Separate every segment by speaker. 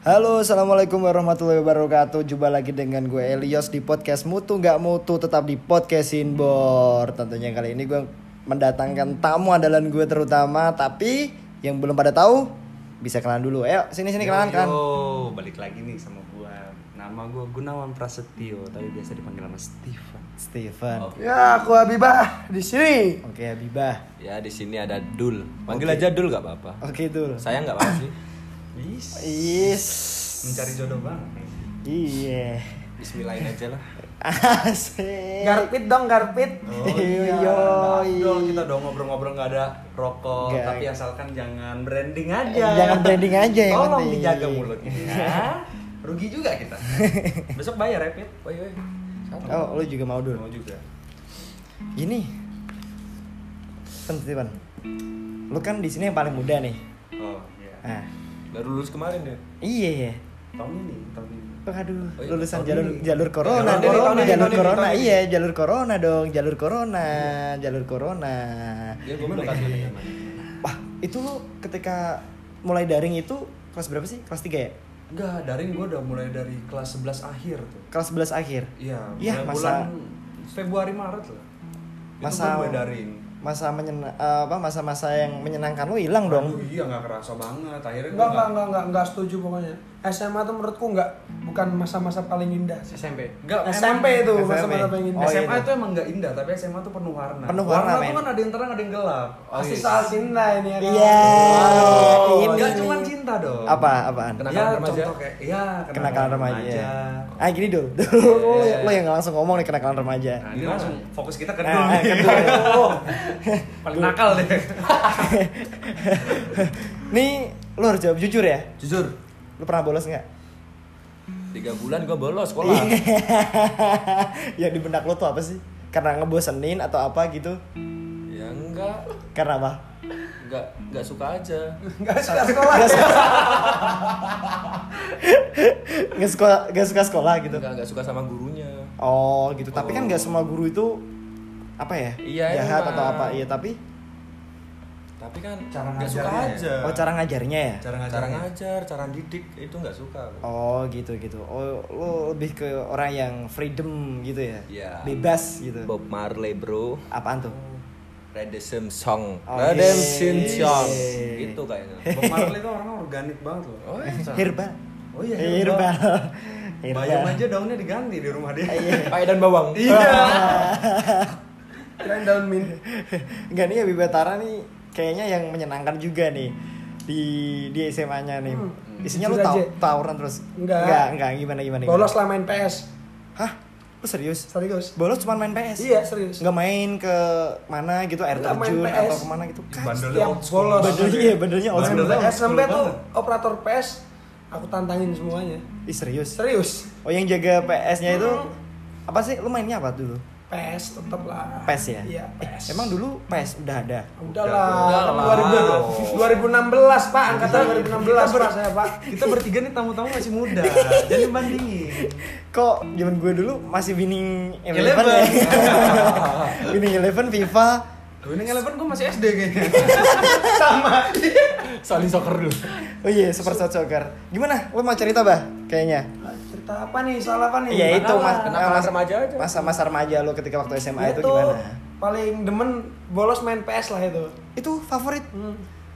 Speaker 1: Halo, assalamualaikum warahmatullahi wabarakatuh. Jumpa lagi dengan gue Elios di podcast Mutu Gak Mutu, tetap di podcast Inbor. Tentunya kali ini gue mendatangkan tamu andalan gue terutama, tapi yang belum pada tahu bisa kenalan dulu. Ayo, sini sini kenalan kan.
Speaker 2: Yo, balik lagi nih sama gua. Nama gua Gunawan Prasetyo, tapi biasa dipanggil sama Steven.
Speaker 1: Steven.
Speaker 3: Ya, aku Habibah di sini.
Speaker 1: Oke, Habibah.
Speaker 4: Ya di sini ada Dul. Panggil
Speaker 1: Oke.
Speaker 4: aja Dul nggak apa-apa.
Speaker 1: Oke, dulu.
Speaker 4: Saya nggak apa sih.
Speaker 2: Is,
Speaker 1: Yes.
Speaker 2: mencari jodoh banget.
Speaker 1: Iya.
Speaker 4: Bismillahin aja lah.
Speaker 1: Asik.
Speaker 3: Garpit dong, garpit.
Speaker 1: Iya.
Speaker 2: Dol, kita Oh, dong ngobrol-ngobrol nggak ada rokok,
Speaker 1: Nggak. Eh,
Speaker 2: tapi asalkan jangan branding aja.
Speaker 1: Jangan branding aja yang
Speaker 2: Tolong
Speaker 1: penting.
Speaker 2: dijaga mulutnya. ya. Rugi juga kita. Besok bayar ya, Pit. Woi, woi.
Speaker 1: Oh, lu juga mau dulu.
Speaker 2: Mau juga.
Speaker 1: Gini. Steven, Steven. Lu kan di sini yang paling muda nih.
Speaker 2: Oh, iya.
Speaker 1: Nah,
Speaker 4: Baru lulus kemarin deh.
Speaker 1: iya ya.
Speaker 2: Tahun ini, tahun ini.
Speaker 1: Aduh,
Speaker 4: Oh iya,
Speaker 1: lulusan
Speaker 4: tahun
Speaker 1: jalur
Speaker 4: ini.
Speaker 1: jalur corona,
Speaker 4: Tahun ini,
Speaker 1: dong.
Speaker 4: tahun ini,
Speaker 1: jalur
Speaker 4: tahun ini,
Speaker 1: corona,
Speaker 4: tahun ini.
Speaker 1: iya jalur corona dong, jalur corona, jalur corona.
Speaker 4: Dia gue
Speaker 2: Gimana
Speaker 4: Iya, belum kasih
Speaker 2: ya?
Speaker 1: Wah, itu lo ketika mulai daring itu kelas berapa sih? Kelas 3 ya?
Speaker 2: Enggak, daring gua udah mulai dari kelas 11 akhir tuh.
Speaker 1: Kelas 11 akhir.
Speaker 2: Iya,
Speaker 1: Iya,
Speaker 2: mulai
Speaker 1: masa
Speaker 2: bulan Februari Maret lah.
Speaker 1: masa
Speaker 2: itu kan gue daring.
Speaker 1: masa menyena, apa masa-masa yang menyenangkan lo hilang dong.
Speaker 2: Aduh, iya nggak kerasa banget. Akhirnya gua
Speaker 3: Enggak, enggak, enggak, enggak, enggak setuju pokoknya. SMA tuh menurutku enggak bukan masa-masa paling indah sih.
Speaker 2: SMP. Enggak,
Speaker 3: SMP itu
Speaker 1: SMP.
Speaker 3: masa-masa paling
Speaker 1: Oh,
Speaker 3: indah.
Speaker 1: iya.
Speaker 2: SMA itu emang nggak indah, tapi SMA tuh penuh warna.
Speaker 1: Penuh warna,
Speaker 2: tuh
Speaker 1: men. Oh,
Speaker 2: kan ada yang terang, ada yang gelap.
Speaker 3: Pasti
Speaker 2: Oasis.
Speaker 3: soal cinta ini ya. kan?
Speaker 1: Iya.
Speaker 2: Oh,
Speaker 1: ini.
Speaker 2: nggak cuma cinta dong.
Speaker 1: Apa iya. apaan?
Speaker 2: Kenakalan
Speaker 4: Ya,
Speaker 2: remaja.
Speaker 4: contoh
Speaker 2: kayak, ya,
Speaker 1: Kenakalan remaja. Ah, gini dulu. Lo lo
Speaker 4: Iya.
Speaker 1: yang langsung ngomong nih kenakalan remaja.
Speaker 2: Nah, ini langsung fokus kita Eh, ke
Speaker 1: Nah,
Speaker 2: dulu. nih.
Speaker 1: ke dulu.
Speaker 2: Oh, Paling nakal deh.
Speaker 1: Nih, lo harus jawab jujur ya.
Speaker 4: Jujur.
Speaker 1: Lu pernah bolos nggak?
Speaker 4: Tiga bulan gue bolos
Speaker 1: Iya.
Speaker 4: sekolah.
Speaker 1: yang Ya, di benak lo tuh apa sih? Karena ngebosenin atau apa gitu?
Speaker 4: ya enggak.
Speaker 1: Karena apa?
Speaker 4: Enggak enggak suka aja.
Speaker 3: Enggak suka sekolah.
Speaker 1: Nggak suka, nggak suka sekolah gitu?
Speaker 4: Enggak enggak suka sama gurunya.
Speaker 1: Oh gitu. Tapi kan
Speaker 4: Oh.
Speaker 1: nggak semua guru itu apa ya?
Speaker 4: Iya,
Speaker 1: Jahat
Speaker 4: emang.
Speaker 1: atau apa? Iya tapi.
Speaker 4: Tapi kan
Speaker 3: Cara
Speaker 4: nggak suka
Speaker 3: ngajarnya ya?
Speaker 4: aja.
Speaker 1: Oh cara ngajarnya ya?
Speaker 2: Cara
Speaker 4: Iya. Cara ngajar, cara didik itu nggak suka.
Speaker 1: Oh gitu gitu. Oh lo lebih ke orang yang freedom gitu ya?
Speaker 4: Iya.
Speaker 1: Bebas gitu.
Speaker 4: Bob Marley bro.
Speaker 1: Apaan tuh?
Speaker 4: Redemption song.
Speaker 1: Oh,
Speaker 4: Redemption
Speaker 1: yes.
Speaker 4: song. Gitu kayaknya.
Speaker 2: Bang Marley itu orang organik banget loh.
Speaker 4: Oh, iya.
Speaker 1: Herbal. Eh,
Speaker 2: Oh iya,
Speaker 1: herbal.
Speaker 2: herbal.
Speaker 1: Herbal. Iya.
Speaker 2: Bayam aja daunnya diganti di rumah dia.
Speaker 4: Pahit dan bawang.
Speaker 3: Kirain daun min.
Speaker 1: Iya. Enggak nih Abi Batara nih kayaknya yang menyenangkan juga nih di di SMA-nya nih.
Speaker 3: Hmm.
Speaker 1: Isinya lu tau,
Speaker 3: Jujur aja.
Speaker 1: tawuran terus.
Speaker 3: Enggak.
Speaker 1: Enggak, enggak gimana gimana. gimana.
Speaker 3: Bolos lah main PS.
Speaker 1: Hah? Lu serius?
Speaker 3: Serius.
Speaker 1: Bolos cuma main PS.
Speaker 3: Iya, serius.
Speaker 1: Enggak main ke mana gitu air
Speaker 3: Enggak main
Speaker 1: terjun
Speaker 3: PS.
Speaker 1: atau kemana gitu. Kan.
Speaker 2: Bandel.
Speaker 3: Yang
Speaker 2: old school
Speaker 3: bolos.
Speaker 1: Bandelnya iya, bandelnya old school.
Speaker 2: Bandel. Bandelnya old
Speaker 3: SMP
Speaker 2: school
Speaker 3: tuh
Speaker 2: banget.
Speaker 3: operator PS aku tantangin semuanya.
Speaker 1: Ih serius.
Speaker 3: Serius.
Speaker 1: Oh yang jaga PS-nya itu
Speaker 3: Hmm.
Speaker 1: apa sih? Lu mainnya apa dulu?
Speaker 3: PS tetep lah.
Speaker 1: PS ya?
Speaker 3: Iya,
Speaker 1: Eh,
Speaker 3: PS.
Speaker 1: emang dulu PS Ya, udah ada.
Speaker 3: Udahlah,
Speaker 4: Udahlah.
Speaker 3: kan 2000, 2016 pak, angkatan 2016 pak saya pak.
Speaker 2: Kita bertiga nih tamu-tamu masih muda. Jangan dibandingin.
Speaker 1: Kok zaman gue dulu masih winning eleven,
Speaker 2: Eleven.
Speaker 1: ya? winning eleven FIFA.
Speaker 2: Winning Eleven gue masih SD kayaknya.
Speaker 4: Saling soccer dulu.
Speaker 1: Oh iya, Super Shot Soccer. Gimana? Lu mau cerita, Bah? Kayaknya.
Speaker 3: Cerita apa nih, soal apa nih?
Speaker 1: Ya
Speaker 3: Kenapa?
Speaker 1: itu mas,
Speaker 4: kenapa
Speaker 1: mas-
Speaker 4: mas remaja aja?
Speaker 1: Masa-masa remaja lo ketika waktu SMA itu,
Speaker 3: Itu
Speaker 1: gimana?
Speaker 3: paling demen bolos main PS lah itu.
Speaker 1: Itu favorit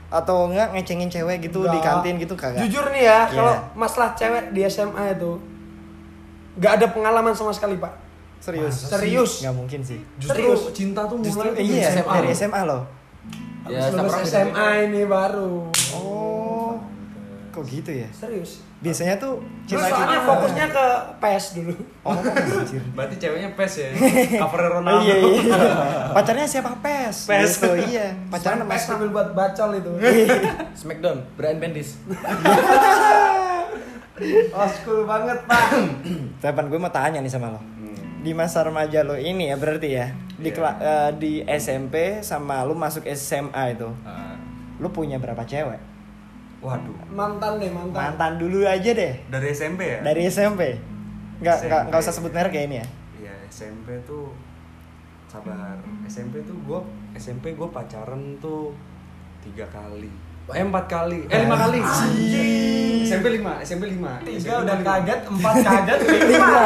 Speaker 1: atau enggak ngecengin cewek gitu di
Speaker 3: Hmm. Nggak.
Speaker 1: kantin gitu kagak?
Speaker 3: Jujur nih ya,
Speaker 1: Iya.
Speaker 3: kalau masalah cewek di SMA itu nggak ada pengalaman sama sekali pak.
Speaker 1: serius.
Speaker 3: Masa sih? Serius.
Speaker 1: Nggak mungkin sih.
Speaker 2: Justru
Speaker 3: Serius.
Speaker 2: cinta tuh
Speaker 1: Justru
Speaker 2: mulai tuh
Speaker 1: iya
Speaker 2: di
Speaker 1: dari SMA lo.
Speaker 4: Ya,
Speaker 3: Habis lulus
Speaker 4: sekarang beda-beda.
Speaker 3: SMA ini baru.
Speaker 1: Oh. Kok gitu ya?
Speaker 3: Serius.
Speaker 1: Biasanya tuh
Speaker 3: Terus
Speaker 1: cinta-
Speaker 3: soalnya fokusnya ke PS dulu.
Speaker 1: Oh, anjir.
Speaker 2: Berarti ceweknya pes ya. Covernya
Speaker 1: Oh,
Speaker 2: Ronaldo.
Speaker 1: iya, iya. Pacarnya siapa? Pes.
Speaker 2: Pes.
Speaker 1: Gitu, iya. Pacarnya sama
Speaker 3: Main PS
Speaker 1: siapa?
Speaker 3: sambil buat bacol itu.
Speaker 4: Smackdown, Brian Bendis.
Speaker 3: Oskul banget pak.
Speaker 1: Tepan gue mau tanya nih sama lo.
Speaker 2: Hmm.
Speaker 1: Di masa remaja lo ini ya berarti ya di
Speaker 2: Iya.
Speaker 1: kela- eh, di SMP sama lo masuk SMA itu.
Speaker 2: Ah,
Speaker 1: Lo punya berapa cewek?
Speaker 2: Waduh.
Speaker 3: Mantan deh mantan.
Speaker 1: Mantan dulu aja deh.
Speaker 2: Dari SMP ya?
Speaker 1: Dari SMP. Nggak nggak
Speaker 2: SMP.
Speaker 1: nggak usah sebut merek ya ini ya.
Speaker 2: Iya, SMP tuh
Speaker 1: Hmm,
Speaker 2: sabar. SMP tuh gue SMP gue pacaran tuh tiga kali.
Speaker 4: Eh empat kali, eh lima kali.
Speaker 2: SMP 5, SMP 5.
Speaker 3: Tiga udah kaget, empat kaget, lima.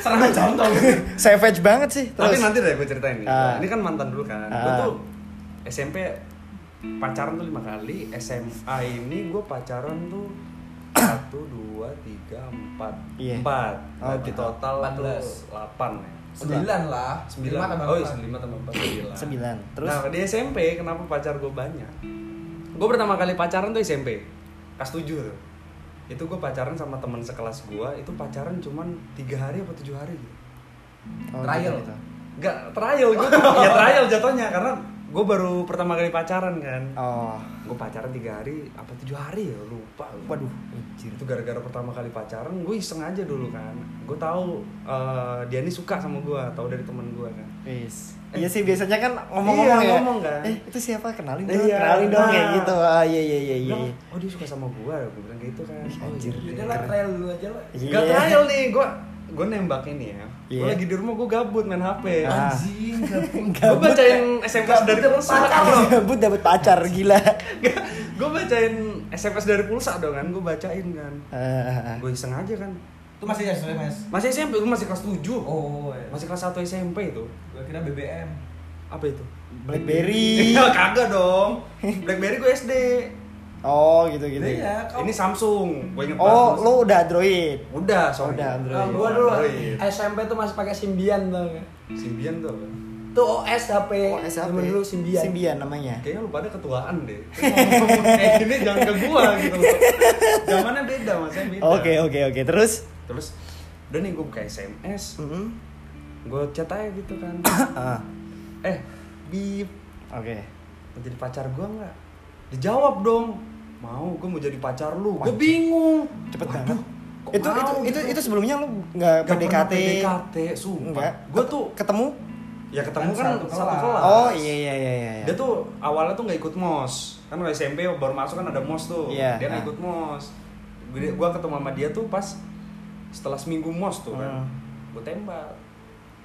Speaker 3: Serang contoh.
Speaker 1: Savage banget sih.
Speaker 2: Tapi
Speaker 1: Terus
Speaker 2: nanti deh gue ceritain nih.
Speaker 1: Ah.
Speaker 2: Ini kan mantan dulu kan. Gue
Speaker 1: Ah.
Speaker 2: tuh SMP pacaran tuh lima kali, SMA ini gue pacaran tuh satu dua tiga empat
Speaker 1: Iya.
Speaker 2: empat
Speaker 1: Oh,
Speaker 2: di total
Speaker 4: empat
Speaker 2: tuh
Speaker 4: belas.
Speaker 2: delapan ya
Speaker 3: Sembilan lah.
Speaker 2: sembilan
Speaker 3: Lima tambah
Speaker 2: oh iya,
Speaker 3: empat.
Speaker 2: lima tambah empat sembilan
Speaker 1: sembilan. Terus
Speaker 2: nah di SMP kenapa pacar gue banyak gue pertama kali pacaran tuh SMP kelas 7 tuh itu gue pacaran sama teman sekelas gue itu pacaran cuman tiga hari apa tujuh hari gitu
Speaker 1: Oh,
Speaker 3: trial.
Speaker 1: gitu.
Speaker 2: Gak trial gue ya trial jatuhnya karena gue baru pertama kali pacaran kan
Speaker 1: Oh,
Speaker 2: gue pacaran tiga hari apa tujuh hari ya lupa
Speaker 1: waduh.
Speaker 2: itu gara-gara pertama kali pacaran gue iseng aja dulu kan gue tahu eh, dia ini suka sama gue tahu dari teman gue kan
Speaker 1: Wis. Iya sih biasanya kan ngomong-ngomong
Speaker 2: Iya,
Speaker 1: ya.
Speaker 2: ngomong kan.
Speaker 1: Eh, itu siapa? Kenalin dong,
Speaker 2: Iya,
Speaker 1: kenalin dong
Speaker 2: nah.
Speaker 1: kayak gitu. Ah, iya iya iya iya.
Speaker 2: Bilang, oh dia suka sama gue gue bilang gitu kan
Speaker 1: Ih,
Speaker 2: oh,
Speaker 1: anjir.
Speaker 3: Udah
Speaker 2: iya.
Speaker 3: lah, trial dulu aja lah.
Speaker 1: Iya.
Speaker 2: Gak trial nih, gue gue nembak ini ya. Gue
Speaker 1: Iya.
Speaker 2: lagi di rumah gue gabut main HP.
Speaker 1: Ah.
Speaker 2: Anjing, gue bacain SMS dari pulsa.
Speaker 1: Gabut dapat pacar gila.
Speaker 2: gue bacain SMS dari pulsa dong kan, gue bacain kan.
Speaker 1: Ah,
Speaker 2: Gue iseng aja kan.
Speaker 3: Itu masih ya, sebenarnya mas.
Speaker 2: Masih SMP, gue masih kelas 7
Speaker 3: Oh, iya.
Speaker 2: Masih kelas 1 SMP itu.
Speaker 3: Gua kira BBM.
Speaker 2: Apa itu?
Speaker 1: Blackberry.
Speaker 2: Iya, kagak dong. Blackberry gue SD.
Speaker 1: Oh, gitu-gitu.
Speaker 3: Iya, kau-
Speaker 2: Ini Samsung, gue inget
Speaker 1: Oh,
Speaker 2: banget.
Speaker 1: lu udah Android.
Speaker 2: Udah, sorry. Ah,
Speaker 1: Udah, Android.
Speaker 3: Kalau Ah, gua dulu SMP tuh masih pakai Symbian tuh.
Speaker 2: Simbian tuh apa?
Speaker 3: Tuh oh, OS HP.
Speaker 2: Eh,
Speaker 1: OS HP.
Speaker 3: Zaman dulu Symbian.
Speaker 1: Symbian namanya.
Speaker 2: kayaknya lu pada ketuaan deh Terus ngomong kayak gini jangan ke gua gitu loh zamannya beda masnya beda
Speaker 1: Oke, oke, oke. Terus
Speaker 2: terus udah nih gua buka sms
Speaker 1: Mm-mm.
Speaker 2: gua chat aja gitu kan
Speaker 1: Ah,
Speaker 2: eh bip
Speaker 1: Oke.
Speaker 2: mau jadi pacar gua nggak dijawab dong mau gua mau jadi pacar lu gua bingung
Speaker 1: Cepet banget.
Speaker 2: Waduh, kok
Speaker 1: Itu
Speaker 2: mau
Speaker 1: itu itu
Speaker 2: gitu?
Speaker 1: itu sebelumnya lu nggak
Speaker 2: Nggak pernah
Speaker 1: PDKT.
Speaker 2: PDKT sumpah
Speaker 1: Enggak.
Speaker 2: gua tuh
Speaker 1: ketemu?
Speaker 2: ya ketemu kan
Speaker 3: Kan satu
Speaker 2: satu
Speaker 3: kelas.
Speaker 2: kelas
Speaker 1: Oh, iya iya iya iya.
Speaker 2: dia tuh awalnya tuh nggak ikut mos kan kalau SMP baru masuk kan ada mos tuh
Speaker 1: Iya,
Speaker 2: dia nggak
Speaker 1: nah.
Speaker 2: ikut mos gue gua ketemu sama dia tuh pas setelah seminggu mos tuh kan
Speaker 1: Hmm.
Speaker 2: gue tembak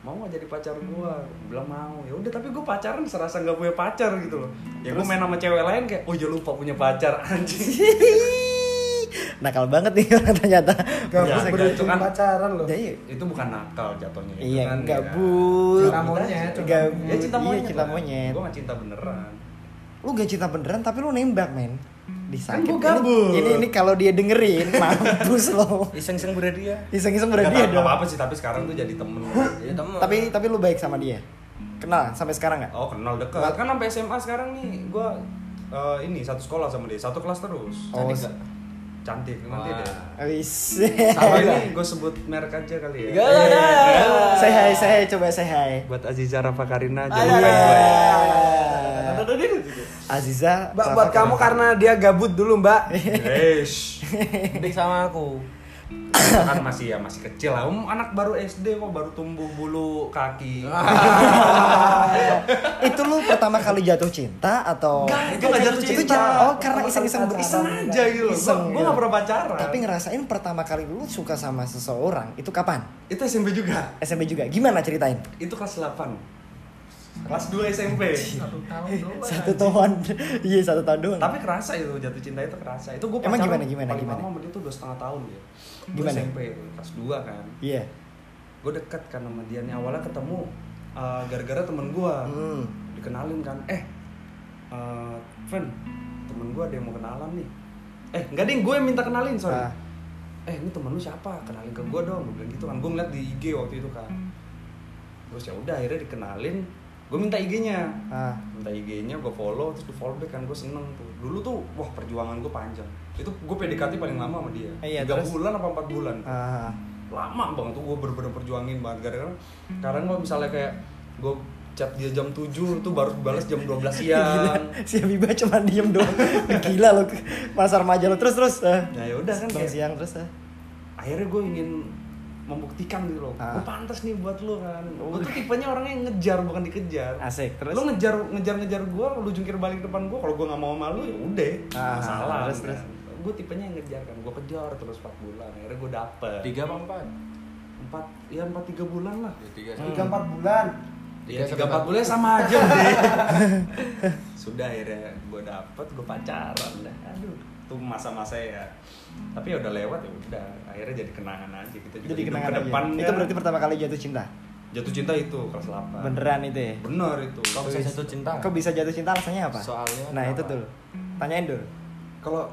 Speaker 2: mau nggak jadi pacar gua Gua bilang mau ya udah tapi gue pacaran serasa nggak punya pacar gitu loh ya gue main sama cewek lain kayak oh ya lupa punya pacar anjing
Speaker 1: Nakal banget nih orang ternyata. Iya,
Speaker 3: Gabut
Speaker 2: Ya,
Speaker 3: berujung
Speaker 2: itu kan-
Speaker 3: pacaran loh.
Speaker 1: Jadi
Speaker 2: itu bukan nakal jatuhnya itu
Speaker 1: iya
Speaker 2: kan ya.
Speaker 1: gabut.
Speaker 3: Cinta monyet, cinta
Speaker 1: Gabut.
Speaker 2: ya cinta monyet
Speaker 1: Iya, cinta monyet.
Speaker 2: gue nggak cinta beneran
Speaker 1: Lu gak cinta beneran tapi lu nembak, men. Disakit.
Speaker 2: Kan gua
Speaker 1: Ini
Speaker 2: gabut.
Speaker 1: ini, ini kalau dia dengerin mampus lo.
Speaker 4: Iseng-iseng berarti ya.
Speaker 1: Iseng-iseng berarti
Speaker 2: Nggak
Speaker 1: ya
Speaker 2: tahu
Speaker 1: dong.
Speaker 2: apa-apa sih tapi sekarang tuh jadi temen
Speaker 4: Ya temen.
Speaker 1: Tapi tapi lu baik sama dia. Kenal sampai sekarang nggak?
Speaker 2: Oh kenal dekat. Kan sampai SMA sekarang nih gue ini satu sekolah sama dia, satu kelas terus.
Speaker 1: Oh,
Speaker 4: Cantik nggak?
Speaker 2: Cantik nanti
Speaker 4: Wah.
Speaker 2: deh.
Speaker 1: Wis.
Speaker 2: Sama ini gue sebut merek aja kali ya.
Speaker 4: Gak, gak, gak.
Speaker 1: Say hi, say hi, coba say hi. Iya.
Speaker 2: Buat Aziza Rafa Karina
Speaker 3: Ayo,
Speaker 2: jangan
Speaker 3: ayo,
Speaker 2: lupa. ya.
Speaker 3: ayo.
Speaker 1: Aziza.
Speaker 3: Mbak,
Speaker 1: Rafa
Speaker 3: buat kamu
Speaker 1: Karina.
Speaker 3: karena dia gabut dulu, Mbak.
Speaker 2: Eish.
Speaker 4: Dik sama aku.
Speaker 2: kan masih ya masih kecil lah. Um, anak baru SD kok baru tumbuh bulu kaki.
Speaker 1: Ah, itu lu pertama kali jatuh cinta atau
Speaker 2: Nggak, itu nggak jatuh
Speaker 1: Itu
Speaker 2: cinta.
Speaker 1: Oh, karena iseng-iseng
Speaker 2: Iseng
Speaker 1: beriseng
Speaker 2: aja gitu.
Speaker 1: Iseng,
Speaker 2: Gue
Speaker 1: gitu.
Speaker 2: gak pernah pacaran.
Speaker 1: Tapi ngerasain pertama kali lu suka sama seseorang itu kapan?
Speaker 2: itu SMP juga.
Speaker 1: SMP juga. Gimana ceritain?
Speaker 2: Itu kelas 8 kelas 2 SMP
Speaker 1: Iya.
Speaker 3: Satu tahun doang.
Speaker 1: Satu tahun. Iya, satu tahun doang.
Speaker 2: tapi kerasa itu jatuh cinta itu kerasa itu gue
Speaker 1: Emang gimana, gimana,
Speaker 2: paling
Speaker 1: gimana?
Speaker 2: lama sama dia tuh dua setengah tahun ya Gua
Speaker 1: Gimana?
Speaker 2: SMP kelas dua kan
Speaker 1: iya.
Speaker 2: gue deket kan sama dia nih awalnya ketemu uh, gara-gara temen gue
Speaker 1: Hmm.
Speaker 2: dikenalin kan eh uh, friend temen gue ada yang mau kenalan nih eh nggak ding gue yang minta kenalin sorry
Speaker 1: Ah.
Speaker 2: eh ini temen lu siapa kenalin ke gue dong gue bilang gitu kan gue ngeliat di IG waktu itu kan terus ya udah akhirnya dikenalin gue minta IG-nya
Speaker 1: Ah.
Speaker 2: minta IG-nya gue follow terus gue follow back kan gue seneng tuh dulu tuh wah perjuangan gue panjang itu gue PDKT paling lama sama dia
Speaker 1: Iya,
Speaker 2: tiga
Speaker 1: terus?
Speaker 2: bulan apa empat bulan
Speaker 1: Ah.
Speaker 2: lama banget tuh gue bener-bener perjuangin banget gara-gara sekarang gue misalnya kayak gue chat dia jam 7 tuh baru balas jam 12
Speaker 1: Gila,
Speaker 2: siang
Speaker 1: si Abiba cuma diem doang. Gila lo, masa remaja lo terus terus. eh.
Speaker 2: Nah, yaudah kan,
Speaker 1: Bang
Speaker 2: kayak-
Speaker 1: siang terus. eh.
Speaker 2: akhirnya gue ingin membuktikan gitu loh
Speaker 1: Ah. Oh.
Speaker 2: gue pantas nih buat lo kan gue tuh tipenya orangnya yang ngejar bukan dikejar
Speaker 1: Asik terus.
Speaker 2: lo ngejar ngejar ngejar gue lu jungkir balik depan gue kalau gue nggak mau malu ya udah
Speaker 1: Ah,
Speaker 2: salah
Speaker 1: terus, terus.
Speaker 2: gue tipenya yang ngejar kan gue kejar terus 4 bulan akhirnya gue dapet
Speaker 4: Tiga apa empat? Ya,
Speaker 2: empat ya empat tiga bulan lah
Speaker 4: Tiga.
Speaker 3: Tiga empat bulan.
Speaker 2: ya
Speaker 1: Iya,
Speaker 4: Tiga,
Speaker 2: tiga empat
Speaker 4: sampai empat.
Speaker 2: bulan sama aja udah sudah akhirnya gue dapet gue pacaran dah aduh tuh masa-masa ya tapi ya udah lewat ya udah akhirnya jadi kenangan aja kita juga
Speaker 1: Jadi
Speaker 2: hidup
Speaker 1: kenangan
Speaker 2: ke
Speaker 1: aja.
Speaker 2: depan kan.
Speaker 1: Itu berarti pertama kali jatuh cinta.
Speaker 2: jatuh cinta itu kelas 8
Speaker 1: Beneran itu ya.
Speaker 2: bener itu
Speaker 4: Kau bisa jatuh cinta?
Speaker 1: Kok bisa jatuh cinta alasannya apa?
Speaker 4: Soalnya
Speaker 1: Nah, itu
Speaker 4: kenapa?
Speaker 1: dulu. Tanyain dulu.
Speaker 2: kalau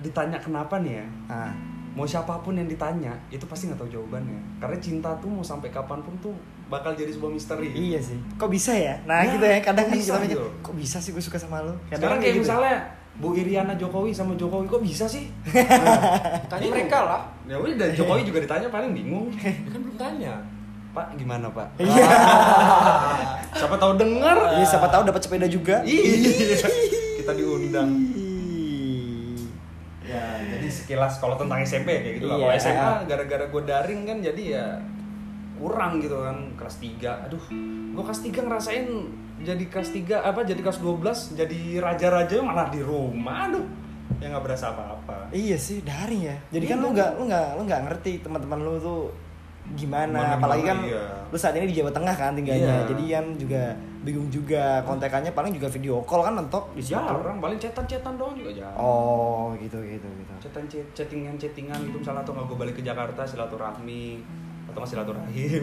Speaker 2: ditanya kenapa nih ya
Speaker 1: Ah,
Speaker 2: mau siapapun yang ditanya itu pasti nggak tahu jawabannya karena cinta tuh mau sampai kapanpun tuh bakal jadi sebuah misteri
Speaker 1: iya sih. Kok bisa ya? Nah,
Speaker 2: Ya,
Speaker 1: gitu ya. Kadang kan
Speaker 2: bisa
Speaker 1: kita mikir,
Speaker 2: gitu.
Speaker 1: kok bisa sih gue suka sama lo? kan gitu.
Speaker 2: sekarang kayak gitu. misalnya Bu Iriana Jokowi sama Jokowi kok bisa sih
Speaker 4: Tanya mereka lah.
Speaker 2: ya udah dan Jokowi juga ditanya paling bingung
Speaker 4: Ya kan belum tanya.
Speaker 2: Pak gimana Pak
Speaker 1: Iya.
Speaker 2: siapa tahu dengar
Speaker 1: Iya, siapa tahu dapat sepeda juga.
Speaker 2: Ih, kita diundang
Speaker 1: Ih.
Speaker 2: ya jadi sekilas kalau tentang SMP ya kayak gitu lah
Speaker 1: Iya.
Speaker 2: kalau SMA gara-gara gue daring kan jadi ya kurang gitu kan kelas 3 aduh gue kelas 3 ngerasain jadi kelas 3 apa jadi kelas 12 jadi raja-raja malah di rumah aduh ya nggak berasa apa-apa
Speaker 1: Iya sih, daring ya. Jadi kan
Speaker 2: Iya,
Speaker 1: lu
Speaker 2: daring.
Speaker 1: nggak lu nggak lu nggak ngerti teman-teman lu tuh
Speaker 2: Gimana,
Speaker 1: gimana, apalagi kan
Speaker 2: iya.
Speaker 1: lu saat ini di Jawa Tengah kan tinggalnya.
Speaker 2: Iya.
Speaker 1: Jadi kan juga bingung juga kontakannya paling juga video call kan mentok di situ.
Speaker 2: Iya, jarang paling cetan-cetan doang juga jarang
Speaker 1: Oh, gitu gitu gitu.
Speaker 2: cetan chattingan chattingan gitu misalnya atau nggak gue balik ke Jakarta silaturahmi atau nggak silaturahim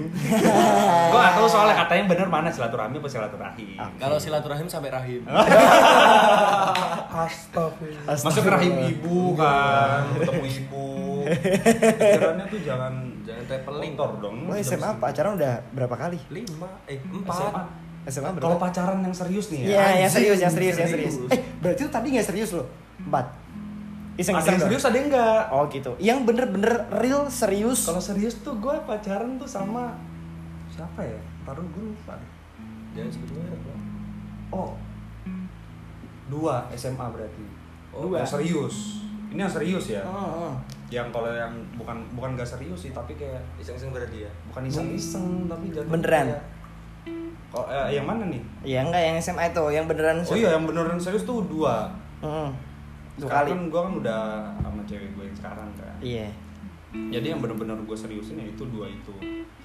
Speaker 2: gue nggak tahu soalnya katanya bener mana silaturahmi apa silaturahim
Speaker 1: Ah,
Speaker 4: Kalau silaturahim sampai rahim.
Speaker 3: Astagfirullah.
Speaker 2: masuk ke rahim ibu
Speaker 1: Iya.
Speaker 2: kan ketemu ibu pikirannya tuh jangan
Speaker 4: Jangan traveling.
Speaker 2: kotor dong
Speaker 1: Lu SMA pacaran udah berapa kali?
Speaker 4: Lima, eh
Speaker 2: SMA.
Speaker 4: empat.
Speaker 1: SMA
Speaker 2: kalau
Speaker 1: berapa?
Speaker 2: pacaran yang serius nih ya
Speaker 1: Iya, yang
Speaker 2: anjing,
Speaker 1: serius, yang serius, yang serius. Eh, berarti lu tadi nggak serius lo? Empat.
Speaker 2: ada
Speaker 1: Iseng-iseng
Speaker 2: yang
Speaker 1: doang?
Speaker 2: serius ada yang enggak
Speaker 1: Oh gitu. Yang bener-bener real serius.
Speaker 2: kalau serius tuh gue pacaran tuh sama siapa ya taruh gue lupa deh.
Speaker 4: Jangan sebut merek lah.
Speaker 2: oh dua SMA berarti
Speaker 1: Oh, Dua.
Speaker 2: yang serius ini yang serius ya
Speaker 1: Oh, oh.
Speaker 2: yang kalau yang bukan bukan gak serius sih tapi kayak
Speaker 4: Iseng-iseng berarti ya.
Speaker 2: bukan iseng-iseng tapi jatuh
Speaker 1: Beneran?
Speaker 2: oh, eh, yang mana nih
Speaker 1: Ya enggak yang SMA itu, yang beneran
Speaker 2: Oh iya, yang beneran serius tuh dua.
Speaker 1: Mm. Dua kali.
Speaker 2: Sekarang kan gue kan udah sama cewek gue yang sekarang kan.
Speaker 1: Iya.
Speaker 2: Jadi yang bener-bener gue seriusin ya itu dua itu.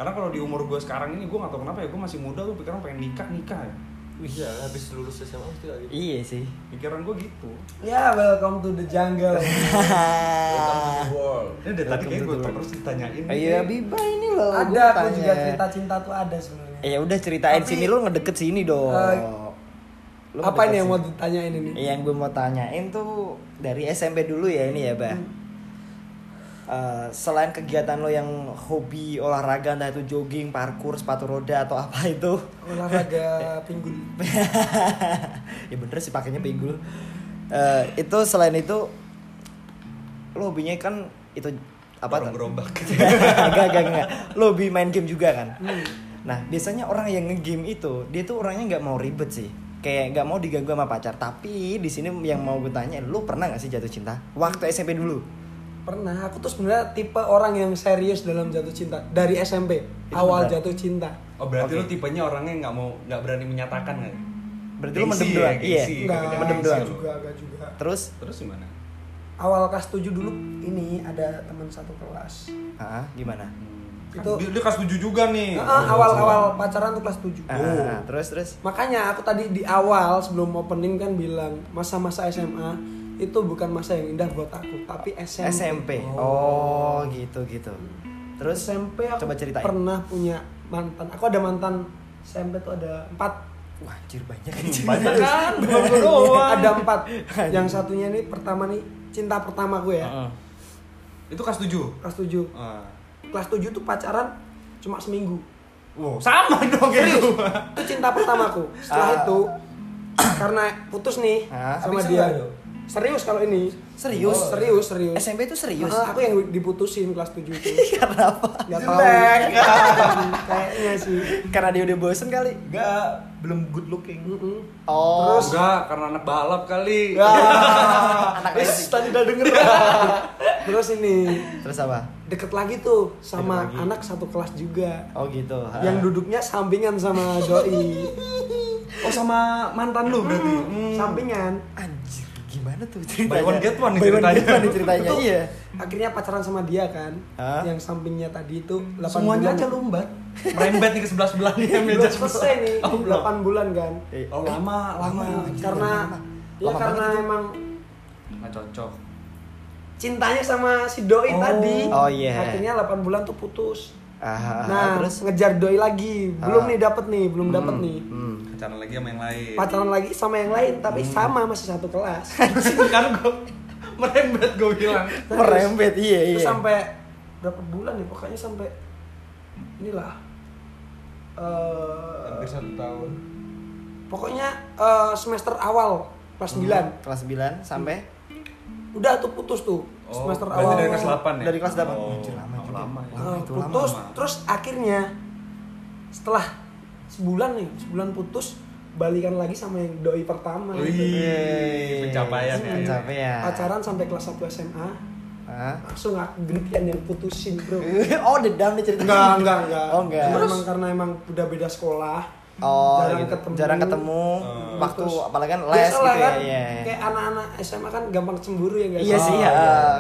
Speaker 2: Karena kalau di umur gue sekarang ini gue gak tau kenapa ya gue masih muda tuh pikiran pengen nikah nikah ya.
Speaker 4: Iya, habis lulus SMA mesti lagi.
Speaker 1: Iya sih.
Speaker 2: Pikiran gue gitu.
Speaker 3: Ya, welcome to the jungle.
Speaker 4: World.
Speaker 2: Ini dari tadi
Speaker 1: Welcome
Speaker 2: kayak
Speaker 1: to
Speaker 2: gue
Speaker 1: the
Speaker 2: terus ditanyain. gitu ya.
Speaker 1: Iya, Biba ini loh.
Speaker 3: ada
Speaker 1: gua
Speaker 3: aku
Speaker 1: tanya.
Speaker 3: juga cerita cinta tuh ada sebenarnya.
Speaker 1: Eh, Ya udah ceritain
Speaker 3: Tapi-
Speaker 1: sini lu ngedeket sini dong.
Speaker 3: Eh,
Speaker 1: Lu ngedeket
Speaker 3: Apa ini yang
Speaker 1: sini.
Speaker 3: mau ditanyain ini?
Speaker 1: Iya, yang gue mau tanyain tuh dari SMP dulu ya ini ya,
Speaker 3: Hmm.
Speaker 1: Bah. Eh, selain kegiatan lo yang hobi olahraga entah itu jogging, parkur, sepatu roda atau apa itu
Speaker 3: Olahraga pinggul.
Speaker 1: ya bener sih pakainya pinggul Eh, itu selain itu lo hobinya kan itu apa
Speaker 2: Dorong gerobak.
Speaker 1: gak gak gak lo hobi main game juga kan
Speaker 3: Hmm.
Speaker 1: nah biasanya orang yang ngegame itu dia tuh orangnya nggak mau ribet sih kayak nggak mau diganggu sama pacar tapi di sini yang mau gue tanya lo pernah nggak sih jatuh cinta waktu SMP dulu
Speaker 3: Pernah, aku tuh sebenarnya tipe orang yang serius dalam jatuh cinta dari SMP.
Speaker 1: Itu
Speaker 3: awal
Speaker 1: benar.
Speaker 3: jatuh cinta.
Speaker 2: Oh berarti
Speaker 1: Oke.
Speaker 2: lu tipenya orangnya nggak mau nggak berani menyatakan kan?
Speaker 1: Berarti lu mendem
Speaker 2: Gengsi ya,
Speaker 1: doang?
Speaker 2: gengsi,
Speaker 1: Iya.
Speaker 2: kebanyakan
Speaker 3: Enggak,
Speaker 1: mendem
Speaker 2: gengsi
Speaker 1: doang.
Speaker 2: lu.
Speaker 3: juga, agak juga.
Speaker 1: terus
Speaker 2: Terus gimana?
Speaker 3: Awal kelas 7 dulu ini ada teman satu kelas.
Speaker 1: ah gimana
Speaker 2: Itu
Speaker 3: Itu-
Speaker 2: Kan, dia, dia kelas tujuh juga nih.
Speaker 3: Ah, awal-awal pacaran tuh kelas 7.
Speaker 1: Iya, Ah,
Speaker 2: Oh.
Speaker 1: ah, terus terus
Speaker 3: Makanya aku tadi di awal sebelum opening kan bilang masa-masa SMA itu bukan masa yang indah buat aku, tapi SMP.
Speaker 1: SMP oh gitu gitu terus
Speaker 3: SMP aku
Speaker 1: coba ceritain
Speaker 3: pernah punya mantan. Aku ada mantan SMP tuh ada empat.
Speaker 1: Wah, anjir banyak
Speaker 2: Banyak kan? Bukan gua doang.
Speaker 3: ada empat. Yang satunya nih pertama nih cinta pertama gue ya.
Speaker 1: Heeh.
Speaker 2: Itu kelas tujuh.
Speaker 3: Kelas 7.
Speaker 2: Ah.
Speaker 3: Kelas 7 tuh pacaran cuma seminggu.
Speaker 2: Wow, sama dong kayak gua.
Speaker 3: Itu cinta pertamaku.
Speaker 1: Ah.
Speaker 3: Setelah itu karena putus nih
Speaker 1: Ah,
Speaker 3: sama
Speaker 4: bisa
Speaker 3: dia.
Speaker 4: nggak lo?
Speaker 3: Serius kalau ini.
Speaker 1: Serius?
Speaker 3: Oh, serius, serius.
Speaker 1: SMP itu serius.
Speaker 3: Ah, aku yang diputusin kelas 7 itu.
Speaker 1: Karena apa?
Speaker 3: Gak tahu. Kayaknya sih.
Speaker 1: Karena dia udah bosen kali.
Speaker 4: Enggak, belum good looking.
Speaker 3: Mm-mm.
Speaker 1: Oh.
Speaker 2: Terus enggak karena anak balap kali.
Speaker 1: anak
Speaker 2: Wis,
Speaker 1: racing.
Speaker 2: tadi udah denger.
Speaker 3: Terus ini
Speaker 1: Terus apa?
Speaker 3: deket lagi tuh
Speaker 2: Deket
Speaker 3: sama
Speaker 2: lagi.
Speaker 3: anak satu kelas juga.
Speaker 1: Oh gitu. ha.
Speaker 3: Yang duduknya sampingan sama doi.
Speaker 2: Oh sama mantan lu berarti. Hmm.
Speaker 3: Sampingan.
Speaker 1: Anjir, gimana tuh ceritanya?
Speaker 2: one get one nih
Speaker 1: By one
Speaker 2: ceritanya.
Speaker 1: get one nih ceritanya.
Speaker 3: Itu
Speaker 1: Iya.
Speaker 3: Akhirnya pacaran sama dia kan.
Speaker 1: Hah?
Speaker 3: Yang sampingnya tadi itu 8
Speaker 2: Semuanya
Speaker 3: bulan.
Speaker 2: aja lumbat. merembet nih ke sebelah sebelah nih meja
Speaker 3: belum selesai nih
Speaker 2: Oh, belum.
Speaker 3: 8 bulan kan
Speaker 1: Eh,
Speaker 2: oh, lama lama
Speaker 3: karena ya
Speaker 1: Lama
Speaker 3: karena emang
Speaker 2: nggak cocok
Speaker 3: cintanya sama si doi
Speaker 2: Oh.
Speaker 3: tadi
Speaker 1: Oh, iya.
Speaker 3: akhirnya 8 bulan tuh putus
Speaker 1: Ah,
Speaker 3: nah
Speaker 1: terus
Speaker 3: ngejar doi lagi
Speaker 1: Ah.
Speaker 3: belum nih dapet nih belum dapet nih
Speaker 1: hmm.
Speaker 2: pacaran lagi sama yang lain
Speaker 3: pacaran lagi sama yang lain tapi sama masih satu kelas
Speaker 2: kan gue merembet gue bilang
Speaker 3: Terus-
Speaker 1: merembet iya iya.
Speaker 3: Terus sampai berapa bulan ya pokoknya sampai inilah eh,
Speaker 4: hampir satu tahun
Speaker 3: pokoknya eh, semester awal kelas
Speaker 1: Hmm.
Speaker 3: 9
Speaker 1: Kelas 9 sampai
Speaker 3: udah tuh putus tuh
Speaker 2: Oh,
Speaker 3: semester
Speaker 2: berarti
Speaker 3: awal
Speaker 2: dari kelas 8 ya
Speaker 1: dari kelas 8.
Speaker 2: Oh,
Speaker 1: Anjir, lama juga.
Speaker 2: lama ya.
Speaker 1: Lama
Speaker 3: Eh,
Speaker 1: itu lama.
Speaker 3: putus
Speaker 2: lama.
Speaker 3: terus akhirnya setelah sebulan nih sebulan putus balikan lagi sama yang doi pertama
Speaker 1: iya.
Speaker 2: Wih, pencapaian ya.
Speaker 1: Pencapaian.
Speaker 3: pacaran sampai kelas 1 SMA
Speaker 1: Hah?
Speaker 3: langsung aku gantian yang putusin bro
Speaker 1: oh, dendam nih ceritanya.
Speaker 3: enggak enggak enggak
Speaker 1: Oh, enggak.
Speaker 3: Cuma emang karena emang udah beda sekolah
Speaker 1: Oh,
Speaker 3: Jarang
Speaker 1: gitu.
Speaker 3: ketemu. Oh.
Speaker 1: jarang ketemu
Speaker 2: Eh.
Speaker 1: waktu
Speaker 3: Terus-
Speaker 1: apalagi kan les
Speaker 3: Biasalah
Speaker 1: gitu ya.
Speaker 3: kan,
Speaker 1: Iya, iya.
Speaker 3: Kayak anak-anak SMA kan gampang cemburu ya guys.
Speaker 1: Iya sih, ya.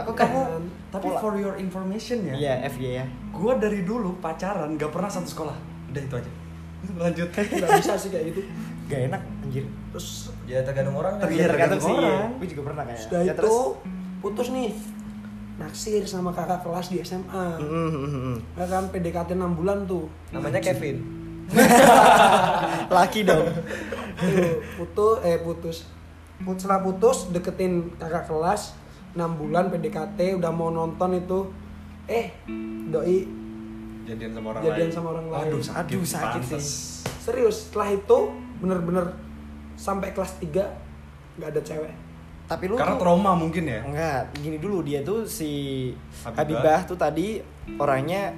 Speaker 1: Kok kamu
Speaker 3: Kan.
Speaker 2: tapi
Speaker 1: Pola.
Speaker 2: for your information ya
Speaker 1: Iya, F ya.
Speaker 2: gue dari dulu pacaran gak pernah satu sekolah udah itu aja lanjut
Speaker 3: Nggak bisa sih kayak gitu.
Speaker 1: Gak enak anjir.
Speaker 3: Terus
Speaker 4: ya tergantung orang kan?
Speaker 2: Iya, tergantung
Speaker 1: Iya, sih, iya.
Speaker 2: orang.
Speaker 1: Gue juga pernah kayak.
Speaker 3: sudah
Speaker 1: Ya,
Speaker 3: itu putus nih. Naksir sama kakak kelas di SMA.
Speaker 1: Mm, mm, mm, mm.
Speaker 3: Ya kan PDKT 6 bulan tuh.
Speaker 4: namanya Kevin
Speaker 1: Laki dong.
Speaker 3: Tuh, putus eh putus. Put- Setelah putus deketin kakak kelas 6 bulan PDKT udah mau nonton itu eh doi
Speaker 2: jadian sama orang
Speaker 3: Jadian
Speaker 2: lain
Speaker 3: sama orang lain.
Speaker 2: aduh sakit,
Speaker 1: Aduh, sakit sih.
Speaker 2: pantes.
Speaker 3: serius setelah itu bener-bener sampai kelas 3 nggak ada cewek
Speaker 1: Tapi lu
Speaker 2: karena
Speaker 1: tuh-
Speaker 2: trauma mungkin ya
Speaker 1: Enggak, gini dulu dia tuh si
Speaker 2: Habibah.
Speaker 1: Habibah, tuh tadi orangnya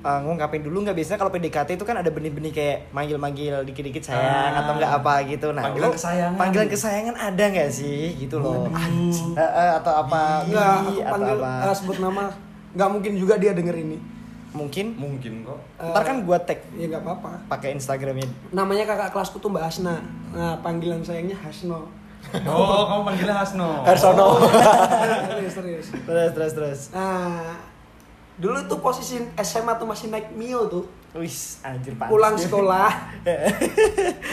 Speaker 1: eh, ngungkapin dulu nggak biasanya kalau PDKT itu kan ada benih-benih kayak manggil-manggil dikit-dikit sayang
Speaker 2: Ah.
Speaker 1: atau nggak apa gitu. Nah,
Speaker 2: Panggilan
Speaker 1: lu-
Speaker 2: kesayangan.
Speaker 1: Panggilan kesayangan ada nggak sih gitu loh.
Speaker 2: Anjing.
Speaker 1: Eh, eh, atau apa?
Speaker 3: Enggak,
Speaker 1: Ih,
Speaker 3: Iya, aku
Speaker 1: atau
Speaker 3: panggil
Speaker 1: apa?
Speaker 3: eh, sebut nama. Enggak mungkin juga dia denger ini.
Speaker 1: Mungkin
Speaker 2: mungkin kok
Speaker 3: Eh,
Speaker 1: ntar kan gua tag
Speaker 3: Ya enggak apa-apa.
Speaker 1: pakai Instagramnya.
Speaker 3: Namanya kakak kelasku tuh Mbak Hasna. Nah, panggilan sayangnya Hasno.
Speaker 2: oh kamu panggilnya Hasno
Speaker 3: serius, serius.
Speaker 1: Terus terus terus.
Speaker 3: Nah, dulu tuh posisi SMA tuh masih naik Mio tuh.
Speaker 1: Wis, anjir pantes
Speaker 3: Pulang
Speaker 1: dia.
Speaker 3: sekolah.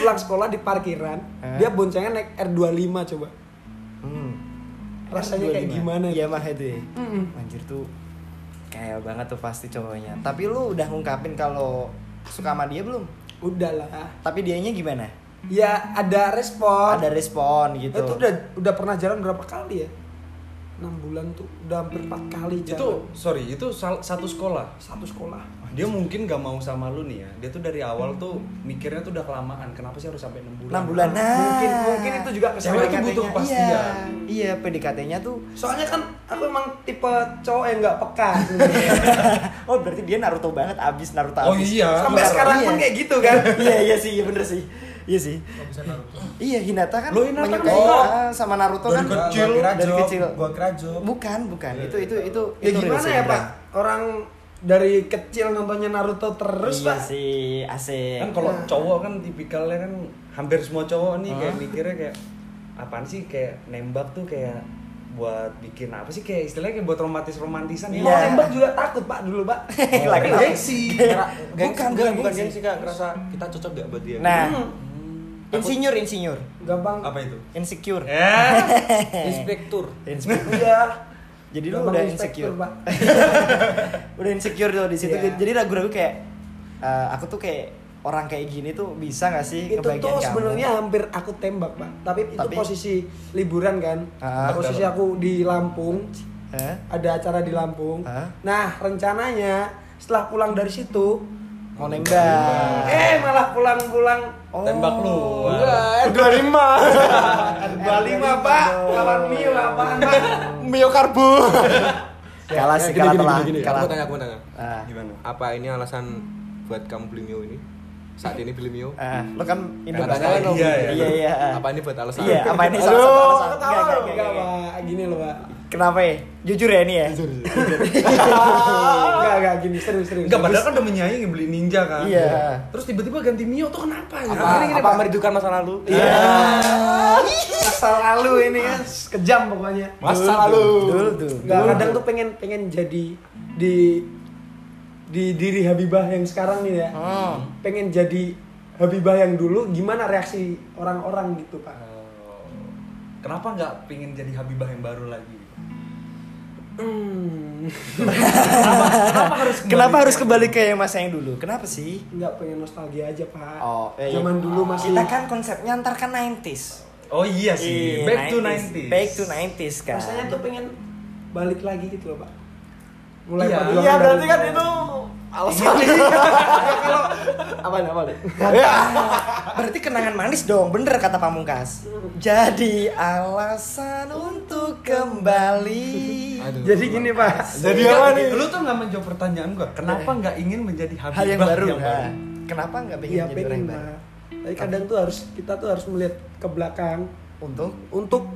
Speaker 3: pulang sekolah di parkiran,
Speaker 1: Eh.
Speaker 3: dia boncengan naik R25 coba.
Speaker 1: Hmm.
Speaker 3: Rasanya kayak gimana
Speaker 1: Iya
Speaker 3: ya?
Speaker 1: mah itu ya. Anjir tuh kayak banget tuh pasti cowoknya. Tapi lu udah ngungkapin kalau suka sama dia belum?
Speaker 3: Udahlah.
Speaker 1: Tapi dianya gimana?
Speaker 3: Ya ada respon.
Speaker 1: Ada respon gitu.
Speaker 3: Itu udah udah pernah jalan berapa kali ya? 6 bulan tuh udah hampir 4 kali jalan.
Speaker 2: itu sorry itu sal- satu sekolah
Speaker 3: satu sekolah.
Speaker 2: dia mungkin gak mau sama lu nih ya dia tuh dari awal tuh mikirnya tuh udah kelamaan kenapa sih harus sampai 6
Speaker 1: 6
Speaker 2: bulan
Speaker 1: bulan. Nah,
Speaker 3: Ah. Mungkin mungkin itu juga
Speaker 2: Cewek itu
Speaker 3: kesalahan.
Speaker 2: butuh
Speaker 1: PDKT-nya,
Speaker 2: kepastian.
Speaker 1: Iya, iya PDKT-nya tuh
Speaker 3: Soalnya kan aku emang tipe cowok yang nggak peka.
Speaker 1: Oh, berarti dia Naruto banget abis Naruto
Speaker 2: Oh
Speaker 1: abis.
Speaker 2: iya.
Speaker 3: Sampai
Speaker 1: Naruto,
Speaker 3: sekarang pun
Speaker 1: iya.
Speaker 3: kayak gitu kan.
Speaker 1: iya, iya sih, iya bener sih. Iya sih.
Speaker 4: bisa Naruto
Speaker 1: Iya, Hinata kan
Speaker 2: Lo Hinata kan
Speaker 1: menyukai
Speaker 2: suka.
Speaker 1: ah, sama Naruto
Speaker 4: Dari
Speaker 1: kan
Speaker 4: kecil.
Speaker 1: dari
Speaker 4: Gua kira
Speaker 1: kecil.
Speaker 4: job, gua kira job.
Speaker 1: Bukan, bukan. Itu itu itu
Speaker 3: ya
Speaker 1: itu
Speaker 3: gimana
Speaker 1: real sih,
Speaker 3: ya,
Speaker 1: beneran.
Speaker 3: Pak? Orang dari kecil nontonnya Naruto terus,
Speaker 1: iya
Speaker 3: Pak.
Speaker 1: sih, asik.
Speaker 2: kan kalau
Speaker 3: Nah.
Speaker 2: cowok kan tipikalnya kan hampir semua cowok nih kayak
Speaker 1: Hah?
Speaker 2: mikirnya kayak apaan sih kayak nembak tuh kayak buat bikin apa sih kayak istilahnya kayak buat romantis romantisan ya
Speaker 3: Mau
Speaker 1: Iya.
Speaker 3: nembak juga takut, Pak, dulu, Pak.
Speaker 1: Lah, kenapa?
Speaker 2: gengsi
Speaker 1: Bukan,
Speaker 4: bukan
Speaker 1: bukan,
Speaker 4: bukan bukan
Speaker 1: gengsi.
Speaker 4: gengsi kak ngerasa kita cocok gak buat dia
Speaker 1: Nah,
Speaker 3: Hmm,
Speaker 1: insinyur, insinyur,
Speaker 3: gampang. Iya.
Speaker 2: apa itu
Speaker 1: insecure.
Speaker 2: eh
Speaker 4: inspektur
Speaker 1: Insecure.
Speaker 3: Iya.
Speaker 1: Jadi lu
Speaker 3: Gampang
Speaker 1: udah
Speaker 3: inspektur,
Speaker 1: insecure,
Speaker 3: Pak.
Speaker 1: udah insecure tuh di situ.
Speaker 3: Iya.
Speaker 1: Jadi ragu-ragu kayak eh, aku tuh kayak orang kayak gini tuh bisa gak sih
Speaker 3: itu
Speaker 1: kebagian
Speaker 3: tuh
Speaker 1: kamu?
Speaker 3: sebenarnya hampir aku tembak pak tapi, itu
Speaker 1: Tapi-
Speaker 3: posisi liburan kan
Speaker 1: Ah.
Speaker 3: posisi aku di Lampung
Speaker 1: Hah?
Speaker 3: ada acara di Lampung
Speaker 1: Ah.
Speaker 3: nah rencananya setelah pulang dari situ
Speaker 1: mau nembak.
Speaker 3: eh malah pulang-pulang
Speaker 1: Oh,
Speaker 2: Tembak lu.
Speaker 4: Oh. Iya, eh.
Speaker 3: Wah, R25 R25 pak lawan Mio apaan pak
Speaker 1: Mio karbo.
Speaker 4: Ya,
Speaker 1: kalah sih, kalah telah. Kalah.
Speaker 4: aku tanya aku tanya
Speaker 1: Ah.
Speaker 2: gimana
Speaker 4: apa ini alasan buat kamu beli Mio ini saat ini beli Mio
Speaker 1: Ah, lo kan Indo
Speaker 4: Katanya kan
Speaker 1: Iya,
Speaker 2: iya.
Speaker 1: iya, iya.
Speaker 4: apa ini buat alasan
Speaker 1: Iya, apa ini salah satu
Speaker 3: Halo,
Speaker 1: alasan?
Speaker 3: tahu
Speaker 1: Enggak, enggak, enggak,
Speaker 3: enggak
Speaker 1: enggak.
Speaker 3: pak gini loh pak
Speaker 1: Kenapa ya? Jujur ya ini ya?
Speaker 3: enggak enggak gini serius serius
Speaker 2: Enggak, padahal kan udah menyayangi beli ninja kan
Speaker 1: Iya.
Speaker 2: terus tiba-tiba ganti Mio tuh kenapa ya
Speaker 4: apa, Ah, apa merindukan masa lalu
Speaker 3: masa lalu ini
Speaker 1: ya,
Speaker 3: kan kejam pokoknya
Speaker 4: masa lalu
Speaker 1: Dulu tuh.
Speaker 3: Nggak, kadang tuh pengen pengen jadi di di diri Habibah yang sekarang nih ya
Speaker 1: Oh.
Speaker 3: pengen jadi Habibah yang dulu gimana reaksi orang-orang gitu pak
Speaker 2: Oh. Kenapa nggak pingin jadi Habibah yang baru lagi?
Speaker 3: Hmm,
Speaker 2: Kenapa, kenapa harus kembali?
Speaker 1: Kenapa harus kembali ke yang masa yang dulu? Kenapa sih?
Speaker 3: nggak pengen nostalgia aja pak
Speaker 1: Oh, eh,
Speaker 3: zaman dulu masih
Speaker 1: Kita kan konsepnya ntar kan 90s.
Speaker 2: Oh iya
Speaker 1: Iya,
Speaker 2: sih, back to 90s.
Speaker 1: Back to 90s kan.
Speaker 3: rasanya tuh pengen balik lagi gitu loh pak
Speaker 2: Iya.
Speaker 3: perjuangan
Speaker 1: Iya,
Speaker 3: dari
Speaker 1: berarti kan
Speaker 3: mulai.
Speaker 1: itu alasan.
Speaker 3: kalau apa apa
Speaker 1: Ya. berarti kenangan manis dong, bener kata Pamungkas. Jadi alasan untuk kembali.
Speaker 4: Aduh.
Speaker 3: jadi gini pak
Speaker 1: Jadi
Speaker 2: Nggak,
Speaker 1: apa nih?
Speaker 2: Lu tuh nggak menjawab pertanyaan gua. Kenapa nggak ingin menjadi
Speaker 1: Iya.
Speaker 2: Habibah
Speaker 1: Hal yang baru.
Speaker 2: Yang
Speaker 1: nah.
Speaker 2: baru?
Speaker 1: Kenapa nggak pengen
Speaker 3: iya
Speaker 1: jadi orang
Speaker 3: pengen
Speaker 1: yang baru?
Speaker 3: pak tapi kadang tuh harus kita tuh harus melihat ke belakang
Speaker 1: Untuk
Speaker 3: untuk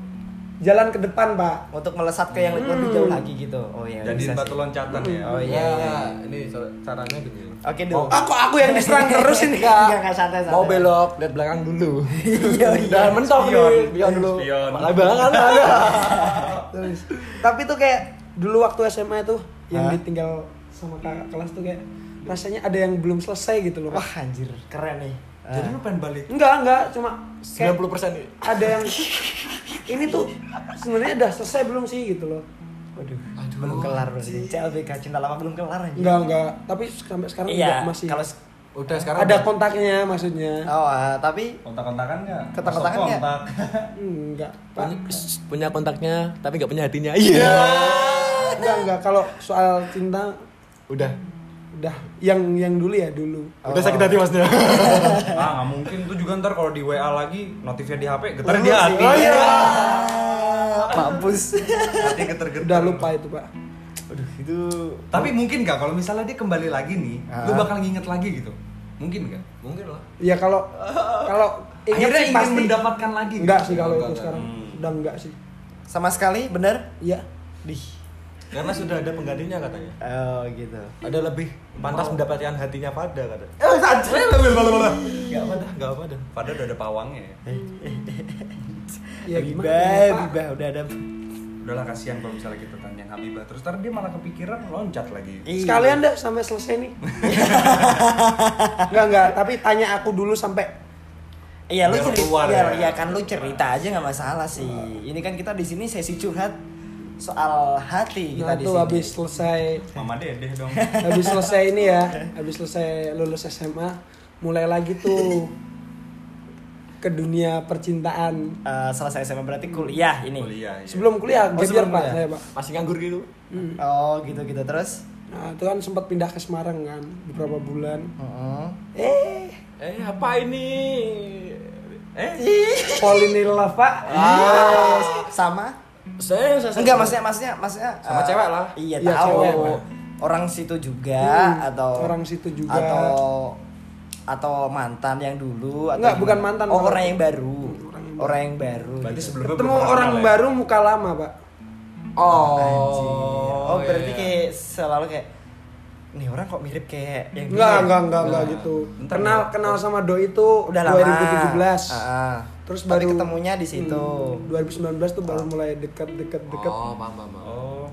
Speaker 3: jalan ke depan pak
Speaker 1: untuk melesat ke yang lebih
Speaker 3: Hmm.
Speaker 1: jauh lagi gitu. Oh iya.
Speaker 2: Jadi
Speaker 1: bisa
Speaker 2: batu
Speaker 1: sih.
Speaker 2: loncatan ya.
Speaker 1: Wah.
Speaker 4: Oh iya, iya. ini car- caranya gini.
Speaker 1: Oke
Speaker 4: Mau-
Speaker 1: dong.
Speaker 3: aku aku yang diserang terus ini
Speaker 1: Enggak, enggak santai santai.
Speaker 4: Mau belok, lihat belakang dulu.
Speaker 1: Iya, iya.
Speaker 4: Jangan mentok nih,
Speaker 2: Spion.
Speaker 4: spion dulu.
Speaker 2: Spion.
Speaker 4: Malah banget ada.
Speaker 3: kan Terus. tapi tuh kayak dulu waktu SMA tuh yang
Speaker 1: Hah?
Speaker 3: ditinggal sama kakak kelas tuh kayak rasanya ada yang belum selesai gitu loh
Speaker 1: Wah
Speaker 3: pak
Speaker 1: anjir, Eh, keren nih.
Speaker 2: Jadi lu pengen balik.
Speaker 3: enggak enggak cuma kayak
Speaker 4: 90% nih.
Speaker 3: ada yang ini tuh sebenarnya udah selesai belum sih gitu loh
Speaker 1: Waduh, belum kelar berarti. CLBK cinta lama belum kelar anjir.
Speaker 3: enggak enggak tapi sampai sekarang
Speaker 1: Iya,
Speaker 3: juga masih
Speaker 1: kalau
Speaker 4: Udah sekarang
Speaker 3: ada
Speaker 4: udah.
Speaker 3: kontaknya maksudnya
Speaker 1: oh, eh, tapi
Speaker 2: Kontak-kontakan nggak?
Speaker 1: Kontak-kontakan
Speaker 2: Masuk
Speaker 1: nggak?
Speaker 2: kontak.
Speaker 3: enggak Hmm, pak
Speaker 4: Punya- punya kontaknya tapi nggak punya hatinya. Iya.
Speaker 3: enggak enggak kalau soal cinta
Speaker 4: Udah.
Speaker 3: udah yang yang dulu ya dulu
Speaker 4: Udah sakit hati maksudnya.
Speaker 2: ah nggak mungkin tuh juga ntar kalau di WA lagi notifnya di HP getar di
Speaker 1: Iya
Speaker 2: hati.
Speaker 1: sih. Iya. Mampus.
Speaker 2: Hati geter-geter.
Speaker 3: udah lupa itu pak
Speaker 1: Aduh, itu
Speaker 2: Tapi mungkin nggak kalau misalnya dia kembali lagi nih, lu
Speaker 1: Ah.
Speaker 2: bakal nginget lagi gitu. Mungkin nggak?
Speaker 4: Mungkin lah.
Speaker 3: ya kalau kalau ingat
Speaker 2: Akhirnya
Speaker 3: sih
Speaker 2: ingin
Speaker 3: pasti
Speaker 2: mendapatkan lagi. gitu.
Speaker 3: enggak sih kalau
Speaker 4: Enggak,
Speaker 3: itu
Speaker 4: enggak.
Speaker 3: sekarang
Speaker 2: Hmm.
Speaker 3: udah enggak sih
Speaker 1: sama sekali bener?
Speaker 3: iya
Speaker 1: Dih.
Speaker 4: Karena sudah ada penggantinya katanya.
Speaker 1: Oh, gitu.
Speaker 4: Ada lebih pantas mendapatkan hatinya pada katanya.
Speaker 2: Eh, sajrel lu malah
Speaker 4: Enggak apa dah, enggak apa dah. Eh.
Speaker 2: Padahal udah ada pawangnya ya.
Speaker 3: ya
Speaker 1: Iya,
Speaker 3: gimana
Speaker 1: Bibah,
Speaker 3: Pak?
Speaker 1: bibah udah ada.
Speaker 2: Udahlah kasihan kalau misalnya kita tanya Habibah terus ntar dia malah kepikiran loncat lagi.
Speaker 1: Iya.
Speaker 3: sekalian dah sampai selesai nih enggak enggak tapi tanya aku dulu sampai
Speaker 1: Iya lu
Speaker 2: Biar
Speaker 1: cerita,
Speaker 2: keluar
Speaker 1: biar, ya
Speaker 2: ya.
Speaker 1: kan lu cerita aja nggak masalah sih. Ini kan kita di sini sesi curhat soal hati kita
Speaker 3: nah
Speaker 1: di
Speaker 3: itu
Speaker 1: sini.
Speaker 3: habis selesai
Speaker 2: Mama Dedeh dong.
Speaker 3: habis selesai ini ya habis selesai lulus SMA mulai lagi tuh ke dunia percintaan
Speaker 1: Eh, selesai SMA berarti kuliah ini.
Speaker 2: Kuliah. iya.
Speaker 3: sebelum kuliah gap
Speaker 4: Oh,
Speaker 3: year
Speaker 4: sebelum
Speaker 3: pak
Speaker 4: kuliah?
Speaker 3: saya pak
Speaker 4: Masih nganggur gitu.
Speaker 3: Hmm.
Speaker 1: Oh gitu gitu terus.
Speaker 3: nah itu kan sempat pindah ke Semarang kan beberapa bulan
Speaker 1: Heeh.
Speaker 3: eh
Speaker 4: Eh, apa ini? Eh,
Speaker 3: Polinilla pak
Speaker 1: Sama?
Speaker 4: saya saya
Speaker 1: Enggak maksudnya maksudnya maksudnya
Speaker 4: Sama
Speaker 1: eh,
Speaker 4: cewek lah.
Speaker 1: Iya
Speaker 3: Iya,
Speaker 1: tahu.
Speaker 3: cewek.
Speaker 1: Orang situ juga
Speaker 3: Hmm,
Speaker 1: atau
Speaker 3: orang situ juga.
Speaker 1: atau atau mantan yang dulu atau
Speaker 3: Enggak,
Speaker 1: gimana?
Speaker 3: bukan mantan,
Speaker 1: Oh,
Speaker 3: orang-
Speaker 1: orang yang baru.
Speaker 3: orang yang
Speaker 1: Orang yang baru.
Speaker 2: Berarti
Speaker 1: gitu.
Speaker 2: sebelum-
Speaker 3: ketemu
Speaker 2: Belum
Speaker 3: orang
Speaker 2: kenal ya?
Speaker 3: baru muka lama pak
Speaker 1: Anjir. Oh,
Speaker 4: Oh,
Speaker 1: berarti
Speaker 4: iya.
Speaker 1: kayak selalu kayak nih orang kok mirip kayak yang
Speaker 3: enggak
Speaker 1: dulu ya?"
Speaker 3: enggak enggak enggak
Speaker 4: Nah,
Speaker 3: gitu
Speaker 2: bentar,
Speaker 3: kenal
Speaker 2: bentar.
Speaker 3: kenal sama Do itu
Speaker 1: Udah lama.
Speaker 3: 2017
Speaker 1: Ah,
Speaker 3: terus
Speaker 1: Tapi
Speaker 3: baru
Speaker 1: ketemunya di situ. Ah.
Speaker 3: Hmm, 2019 tuh baru mulai deket deket deket
Speaker 4: Oh, paham, paham, paham.
Speaker 2: Oh.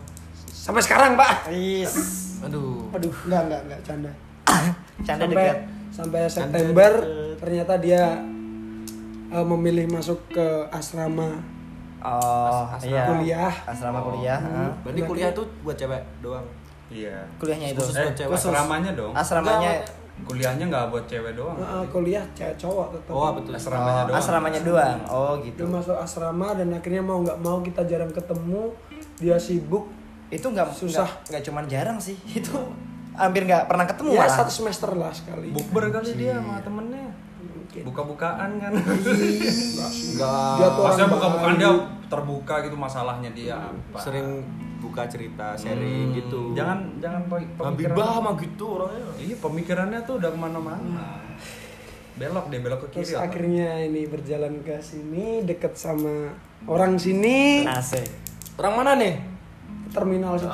Speaker 3: sampai sekarang pak
Speaker 1: Is.
Speaker 4: Aduh.
Speaker 3: aduh enggak enggak enggak canda
Speaker 1: Canda
Speaker 3: sampai
Speaker 1: dekat.
Speaker 3: sampai September ternyata dia eh, memilih masuk ke asrama
Speaker 1: Oh,
Speaker 4: asrama
Speaker 1: iya.
Speaker 3: kuliah.
Speaker 1: Asrama kuliah. ah.
Speaker 4: Berarti kuliah tuh buat cewek doang.
Speaker 2: Iya.
Speaker 1: Kuliahnya itu.
Speaker 4: Khusus
Speaker 2: Eh,
Speaker 4: buat cewek.
Speaker 2: khusus. asramanya dong.
Speaker 1: Asramanya
Speaker 2: Kuliahnya nggak buat cewek doang.
Speaker 3: Eh, eh, kuliah cewek cowok tetap
Speaker 4: Oh, betul.
Speaker 2: Asramanya
Speaker 1: iya. Oh,
Speaker 2: doang.
Speaker 1: asramanya doang. Oh, gitu.
Speaker 3: dia masuk asrama dan akhirnya mau nggak mau kita jarang ketemu dia sibuk
Speaker 1: Itu nggak
Speaker 3: Susah.
Speaker 1: nggak- nggak cuman jarang sih. Itu hampir nggak pernah ketemu
Speaker 3: ya
Speaker 1: malah.
Speaker 3: satu semester lah sekali
Speaker 2: Bukber kali
Speaker 4: Iya.
Speaker 2: dia sama temennya.
Speaker 3: Mungkin.
Speaker 2: Buka-bukaan kan.
Speaker 4: Iya. Enggak.
Speaker 3: Dia tuh orang
Speaker 2: Maksudnya buka-bukaan
Speaker 3: baik.
Speaker 2: dia terbuka gitu masalahnya dia apa.
Speaker 4: Sering buka cerita, sharing gitu.
Speaker 2: Hmm. Jangan jangan pe-
Speaker 4: Habibah mah gitu orangnya.
Speaker 2: Iya pemikirannya tuh udah kemana-mana. Belok deh belok ke
Speaker 3: terus
Speaker 2: kiri.
Speaker 1: Iya.
Speaker 2: apa?
Speaker 3: akhirnya ini berjalan ke sini deket sama orang sini
Speaker 1: Asik.
Speaker 4: Orang mana nih?
Speaker 3: ke terminal situ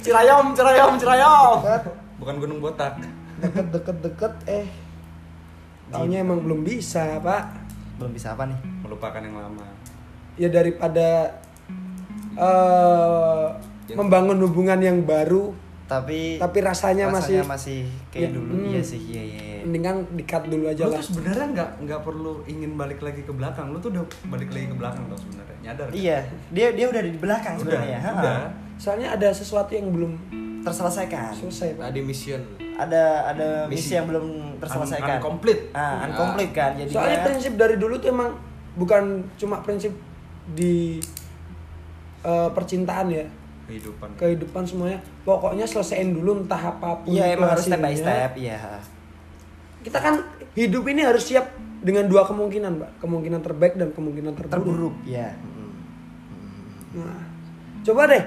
Speaker 4: Cirayam, Cirayam, Cirayam.
Speaker 3: deket
Speaker 2: Bukan gunung botak.
Speaker 3: deket deket deket eh
Speaker 1: Gitu.
Speaker 3: taunya emang belum bisa pak
Speaker 1: Belum bisa apa nih?
Speaker 2: Melupakan yang lama.
Speaker 3: ya
Speaker 1: Ya.
Speaker 3: daripada eh, membangun hubungan yang baru
Speaker 1: tapi
Speaker 3: Tapi rasanya masih-
Speaker 1: masih kayak
Speaker 3: Ya,
Speaker 1: dulu
Speaker 3: hmm.
Speaker 1: iya sih iya iya iya.
Speaker 3: mendingan dikat dulu aja
Speaker 2: Lu
Speaker 3: lah
Speaker 2: tuh sebenarnya nggak nggak perlu ingin balik lagi ke belakang. Lu tuh udah balik lagi ke belakang tau sebenarnya. Nyadar. nggak?
Speaker 1: Iya, dia dia udah di belakang
Speaker 2: Udah.
Speaker 1: sebenarnya ha-ha.
Speaker 2: Udah.
Speaker 3: soalnya ada sesuatu yang belum
Speaker 1: terselesaikan
Speaker 3: selesai pak
Speaker 4: ada mission
Speaker 1: ada ada misi,
Speaker 4: Misi.
Speaker 1: yang belum terselesaikan
Speaker 2: Un- uncompleted.
Speaker 1: ah uncomplete kan jadi
Speaker 3: soalnya prinsip dari dulu tuh emang bukan cuma prinsip di eh, percintaan ya
Speaker 2: Kehidupan.
Speaker 3: kehidupan semuanya pokoknya selesaiin dulu entah apapun
Speaker 1: iya
Speaker 3: itu
Speaker 1: emang harus step by
Speaker 3: hasilnya.
Speaker 1: step iya
Speaker 3: kita kan hidup ini harus siap dengan dua kemungkinan mbak kemungkinan terbaik dan kemungkinan terburuk
Speaker 1: terburuk ya
Speaker 3: Nah, coba deh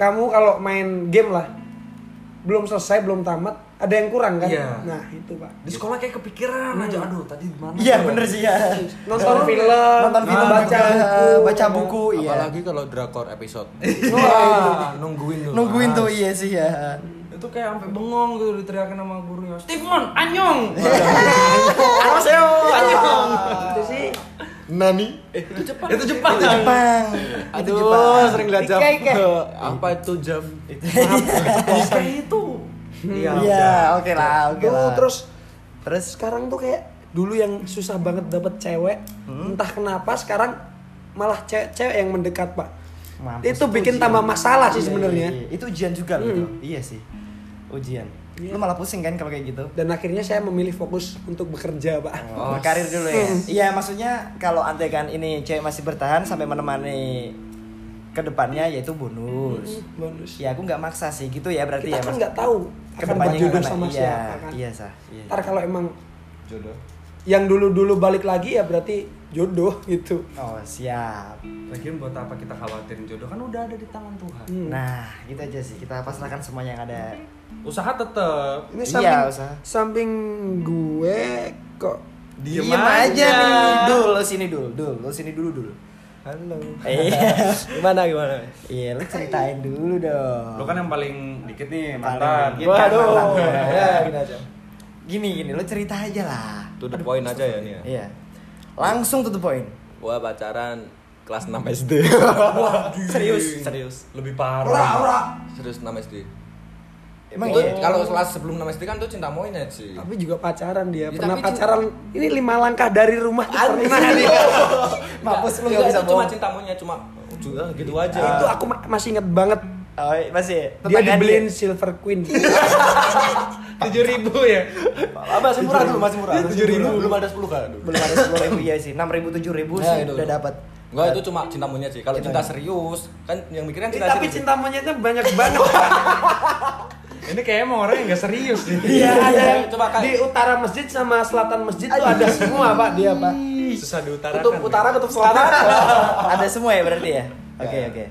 Speaker 3: kamu kalau main game lah belum selesai belum tamat ada yang kurang kan
Speaker 2: Iya.
Speaker 3: nah itu pak
Speaker 2: Di sekolah kayak kepikiran aja. Aduh, tadi di mana?
Speaker 1: iya
Speaker 2: ya?
Speaker 1: bener sih ya
Speaker 3: nonton film
Speaker 1: nonton film
Speaker 3: nah,
Speaker 1: baca buku, baca buku iya
Speaker 4: apalagi kalau drakor episode
Speaker 3: Wah.
Speaker 4: Oh, Wah, nungguin tuh
Speaker 1: nungguin
Speaker 4: Mas.
Speaker 1: tuh iya sih ya
Speaker 2: Itu kayak sampai bengong gitu diteriakin sama gurunya. Steven, anyong.
Speaker 1: Annyeonghaseyo.
Speaker 3: itu sih
Speaker 4: nani
Speaker 2: itu Jepang. Itu Jepang. Jepang.
Speaker 1: Jepang
Speaker 4: aduh sering lihat jam
Speaker 1: Ike, Ike.
Speaker 4: apa itu jam
Speaker 2: Kayak itu. Iya.
Speaker 1: iya oke lah oke
Speaker 3: Tuh,
Speaker 1: lah
Speaker 3: terus
Speaker 1: terus
Speaker 3: sekarang tuh kayak dulu yang susah banget dapet cewek
Speaker 1: Hmm?
Speaker 3: entah kenapa sekarang malah cewek-cewek yang mendekat pak
Speaker 1: Mampus,
Speaker 3: itu bikin
Speaker 1: ujian.
Speaker 3: tambah masalah sih
Speaker 1: Iya,
Speaker 3: sebenarnya Hmm.
Speaker 1: iya, iya. itu ujian juga loh itu iya sih ujian
Speaker 3: Iya.
Speaker 1: lu malah pusing kan kalau kayak gitu
Speaker 3: dan akhirnya saya memilih fokus untuk bekerja pak
Speaker 1: Oh, karir dulu ya.
Speaker 3: Hmm.
Speaker 1: Iya, maksudnya kalau andai kan ini cewek masih bertahan sampai menemani kedepannya yaitu bonus.
Speaker 3: bonus
Speaker 1: Ya aku nggak maksa sih gitu ya berarti
Speaker 3: kita
Speaker 1: ya.
Speaker 3: kan
Speaker 1: Mas.
Speaker 3: nggak tahu akan
Speaker 1: Kedepannya
Speaker 3: berjodoh
Speaker 1: gimana?
Speaker 3: sama
Speaker 1: iya,
Speaker 3: siapa kan
Speaker 1: Iya sah. Iya.
Speaker 3: ntar kalau emang
Speaker 4: jodoh
Speaker 3: yang dulu-dulu balik lagi ya berarti jodoh gitu
Speaker 1: Oh siap.
Speaker 2: Lagian buat apa kita khawatirin jodoh kan udah ada di tangan Tuhan.
Speaker 3: Hmm.
Speaker 1: Nah gitu aja sih kita pasrahkan semuanya yang ada.
Speaker 2: Usaha tetap.
Speaker 3: ini
Speaker 1: Iya,
Speaker 3: samping
Speaker 1: usaha.
Speaker 3: samping gue kok
Speaker 2: Diem
Speaker 1: Diem
Speaker 2: aja.
Speaker 1: nih. Dul lo sini dul, dul lo sini dulu dul.
Speaker 4: halo
Speaker 1: Eh,
Speaker 4: gimana gimana
Speaker 1: Iya lo ceritain dulu dong.
Speaker 2: Lo kan yang paling dikit nih
Speaker 1: Paling
Speaker 2: mantan.
Speaker 1: dikit. Waduh. Iya.
Speaker 3: ya gini aja
Speaker 1: Gini gini lo cerita aja lah.
Speaker 4: to the point aja ya nih ya
Speaker 1: Iya. Langsung to the point.
Speaker 4: gua pacaran kelas 6 SD serius serius
Speaker 2: Lebih
Speaker 3: ora
Speaker 2: parah.
Speaker 3: ora
Speaker 4: serius 6 SD
Speaker 1: Emang
Speaker 4: Itu
Speaker 1: iya.
Speaker 4: kalau kelas sebelum 6 SD kan tuh cinta monyet sih
Speaker 3: tapi juga pacaran dia
Speaker 4: Ya,
Speaker 3: pernah
Speaker 4: tapi
Speaker 3: pacaran ini lima langkah dari rumah tuh pernah dia.
Speaker 1: Mampus lu nggak
Speaker 4: Enggak,
Speaker 1: iya, bisa
Speaker 4: Iya, itu cuma
Speaker 1: bohong.
Speaker 4: cinta monyet cuma juga gitu aja
Speaker 3: itu aku ma- masih inget banget
Speaker 1: Oh, masih
Speaker 3: dia
Speaker 1: tetangga
Speaker 3: dibeliin silver queen
Speaker 2: Tujuh ribu ya.
Speaker 4: apa masih murah dulu masih murah tujuh ribu belum ada sepuluh kan dulu
Speaker 1: belum ada sepuluh ribu ya sih enam ribu tujuh ribu
Speaker 4: Nah,
Speaker 1: sih
Speaker 4: itu.
Speaker 1: udah dapat
Speaker 4: Enggak, itu cuma cinta monyet sih. Kalau cinta serius, kan yang mikirin
Speaker 3: Eh,
Speaker 4: cinta
Speaker 3: tapi
Speaker 4: serius.
Speaker 3: cinta monyetnya banyak banget Pak.
Speaker 2: Ini kayaknya emang orang yang gak serius nih.
Speaker 3: Iya, ada yang
Speaker 4: Coba kan-
Speaker 3: di utara masjid sama selatan masjid tuh ada semua pak dia pak.
Speaker 2: Susah diutarakan.
Speaker 3: Kutub utara, kutub selatan.
Speaker 1: ada semua ya berarti ya oke
Speaker 4: Ya.
Speaker 1: oke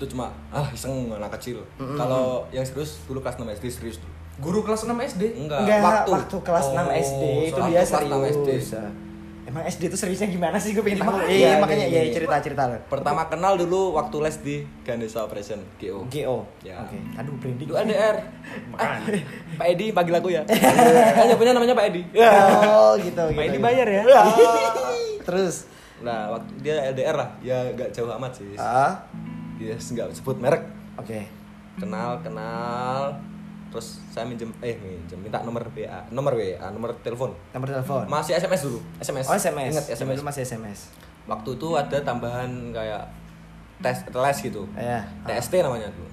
Speaker 4: Itu cuma ah iseng anak kecil. Kalau yang serius dulu kelas 6 SD serius tuh.
Speaker 2: Guru kelas 6 SD.
Speaker 4: Enggak,
Speaker 1: enggak waktu,
Speaker 4: waktu.
Speaker 1: kelas
Speaker 2: Oh,
Speaker 1: 6 SD itu
Speaker 4: waktu
Speaker 1: dia
Speaker 4: kelas enam
Speaker 1: serius
Speaker 4: SD.
Speaker 1: Ah. emang SD itu seriusnya gimana sih gue pengen
Speaker 4: Iya,
Speaker 1: tahu
Speaker 4: makanya.
Speaker 1: iya
Speaker 4: Iya,
Speaker 1: makanya
Speaker 4: iya,
Speaker 1: ya
Speaker 4: iya.
Speaker 1: cerita cerita lo
Speaker 4: Pertama kenal dulu waktu les di Ganesha Operation GO.
Speaker 1: GO
Speaker 4: Ya.
Speaker 1: oke aduh branding
Speaker 4: Dulu LDR.
Speaker 2: Makanya.
Speaker 4: Eh, Pak Edi panggil aku ya. kan punya namanya Pak Edi.
Speaker 1: oh gitu gitu
Speaker 4: Pak Edi
Speaker 1: gitu.
Speaker 4: bayar ya.
Speaker 1: terus
Speaker 4: Nah, waktu dia LDR lah. Ya enggak jauh amat sih.
Speaker 1: ah
Speaker 4: Dia enggak sebut merek.
Speaker 1: oke
Speaker 4: kenal kenal terus saya minjem eh minjem minta nomor WA nomor WA nomor telepon
Speaker 1: nomor telepon
Speaker 4: masih SMS dulu SMS
Speaker 1: oh SMS
Speaker 4: ingat SMS
Speaker 1: Dulu masih SMS
Speaker 4: waktu itu ada tambahan kayak tes les gitu
Speaker 1: ya
Speaker 4: TST namanya tuh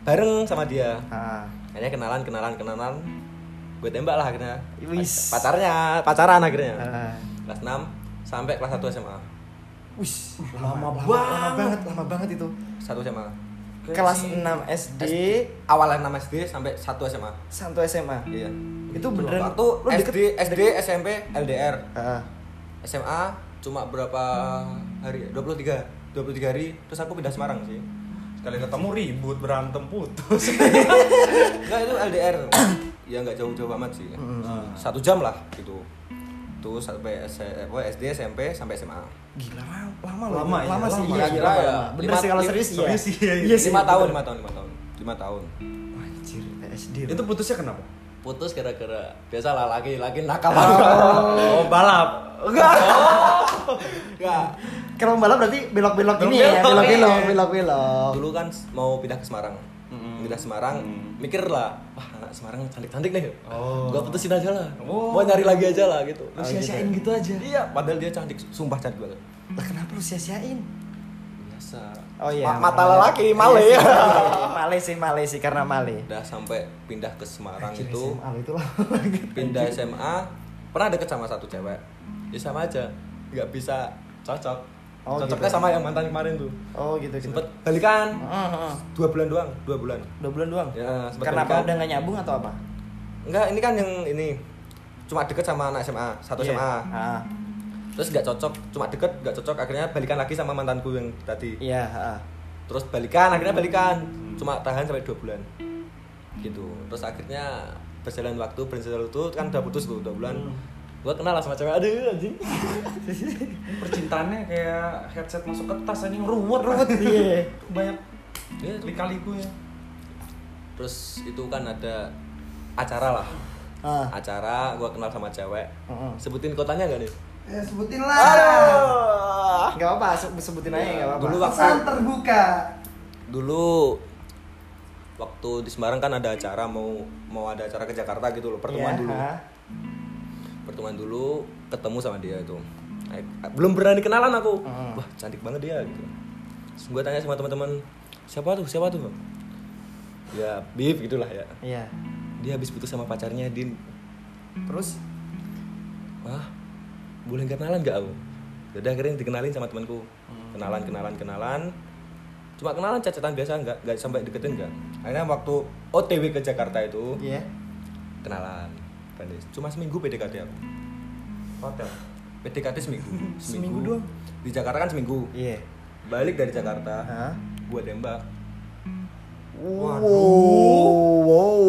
Speaker 4: bareng sama dia
Speaker 1: ah
Speaker 4: akhirnya kenalan kenalan kenalan gue tembak lah akhirnya
Speaker 1: Wis.
Speaker 4: pacarnya pacaran akhirnya
Speaker 1: Ah.
Speaker 4: kelas 6 sampai kelas 1 SMA
Speaker 1: Wih,
Speaker 2: Lama
Speaker 1: lama banget, lama banget itu.
Speaker 4: 1 SMA
Speaker 1: Kelas 6 SD,
Speaker 4: awalnya 6 SD sampai 1 SMA
Speaker 1: satu SMA.
Speaker 4: iya
Speaker 1: Itu beneran
Speaker 4: waktu
Speaker 1: lu
Speaker 4: SD SD SMP LDR
Speaker 1: Ah,
Speaker 4: SMA cuma berapa hari? 23. 23 hari terus aku pindah Semarang sih.
Speaker 2: Sekali ketemu ribut, berantem, putus.
Speaker 4: Enggak itu LDR. ya nggak jauh-jauh amat sih.
Speaker 1: Hmm.
Speaker 4: Satu jam lah gitu. Terus sampai S- apa, SD, SMP sampai SMA.
Speaker 1: gila lama, lama loh.
Speaker 2: Lama, iya,
Speaker 1: sih.
Speaker 2: lama.
Speaker 1: Iya,
Speaker 4: Kira-kira
Speaker 1: lama,
Speaker 4: ya,
Speaker 1: lama. Bener
Speaker 4: lima-
Speaker 1: sih kalau
Speaker 4: lima-
Speaker 1: serius iya.
Speaker 2: serius iya, iya.
Speaker 1: sih,
Speaker 4: 5 tahun,
Speaker 1: bener.
Speaker 4: 5 tahun, 5 tahun. 5 tahun.
Speaker 1: Anjir, SD.
Speaker 2: itu putusnya kenapa?
Speaker 4: Putus gara-gara biasalah laki-laki nakal.
Speaker 2: Oh, balap.
Speaker 4: Enggak.
Speaker 1: Kalau balap berarti belok-belok ini ya,
Speaker 2: Belok-belok,
Speaker 1: belok-belok,
Speaker 2: iya.
Speaker 4: Oh,
Speaker 1: belok-belok.
Speaker 4: Dulu kan mau pindah ke Semarang. pindah Semarang mikir lah wah anak Semarang cantik cantik nih
Speaker 2: Oh.
Speaker 4: gua putusin aja lah
Speaker 2: Oh.
Speaker 4: mau nyari lagi aja lah gitu
Speaker 2: Lu sia-siain gitu aja.
Speaker 4: iya padahal dia cantik sumpah cantik banget
Speaker 1: Lah kenapa lu sia-siain?
Speaker 4: biasa
Speaker 1: Oh iya.
Speaker 4: Ma- mata lelaki male
Speaker 1: Iya
Speaker 4: ya
Speaker 1: sih, Male sih, male sih karena male.
Speaker 4: udah sampai pindah ke Semarang
Speaker 1: Anjir,
Speaker 4: itu
Speaker 1: SMA lu itu lah.
Speaker 4: pindah SMA pernah deket sama satu cewek ya sama aja nggak bisa cocok
Speaker 1: Oh,
Speaker 4: cocoknya
Speaker 1: gitu.
Speaker 4: sama yang mantan kemarin tuh
Speaker 1: Oh gitu gitu.
Speaker 4: sempet balikan
Speaker 1: Heeh, heeh.
Speaker 4: dua bulan doang dua bulan
Speaker 1: Dua bulan doang.
Speaker 4: Ya, sempet
Speaker 1: karena apa
Speaker 4: balikan.
Speaker 1: udah nggak nyambung atau apa?
Speaker 4: enggak ini kan yang ini cuma deket sama anak SMA satu
Speaker 1: Iya.
Speaker 4: SMA
Speaker 1: Ah,
Speaker 4: terus nggak cocok cuma deket nggak cocok akhirnya balikan lagi sama mantanku yang tadi
Speaker 1: Iya. Hmm. ah.
Speaker 4: terus balikan akhirnya balikan cuma tahan sampai dua bulan gitu terus akhirnya berjalan waktu berjalan waktu kan udah putus tuh dua bulan
Speaker 1: Hmm.
Speaker 4: gua kenal lah sama cewek aduh anjing
Speaker 2: Percintaannya kayak headset masuk ke tas anjing ruwet ruwet.
Speaker 1: Iya.
Speaker 2: Banyak
Speaker 4: Iya, tuh.
Speaker 2: lika-liku ya.
Speaker 4: terus itu kan ada acara lah
Speaker 1: Ah. Hmm.
Speaker 4: acara gua kenal sama cewek
Speaker 1: Mm-mm.
Speaker 4: sebutin kotanya gak nih
Speaker 5: Eh, sebutin lah.
Speaker 1: Gak apa-apa, se- sebutin aja gak apa-apa.
Speaker 4: dulu waktu
Speaker 5: Pesan terbuka.
Speaker 4: dulu waktu di Semarang kan ada acara mau mau ada acara ke Jakarta gitu loh pertemuan
Speaker 1: Iya,
Speaker 4: dulu
Speaker 1: ah.
Speaker 4: pertemuan dulu ketemu sama dia itu Eh, belum berani kenalan aku
Speaker 1: Hmm.
Speaker 4: wah cantik banget dia gitu Terus gue tanya sama teman-teman siapa tuh siapa tuh ya beef gitulah ya
Speaker 1: Iya.
Speaker 4: dia habis putus sama pacarnya Din
Speaker 1: Terus
Speaker 4: wah boleh kenalan gak aku Yaudah akhirnya dikenalin sama temanku
Speaker 1: Hmm.
Speaker 4: kenalan kenalan kenalan cuma kenalan cacatan biasa nggak nggak sampai deketin nggak akhirnya waktu OTW ke Jakarta itu
Speaker 1: iya.
Speaker 4: kenalan Vanis. cuma seminggu PDKT aku
Speaker 2: Hotel.
Speaker 4: PDKT seminggu
Speaker 1: Seminggu doang?
Speaker 4: di Jakarta kan seminggu
Speaker 1: Iya.
Speaker 4: balik dari Jakarta
Speaker 1: Hah?
Speaker 4: gua tembak
Speaker 1: Wow, wow,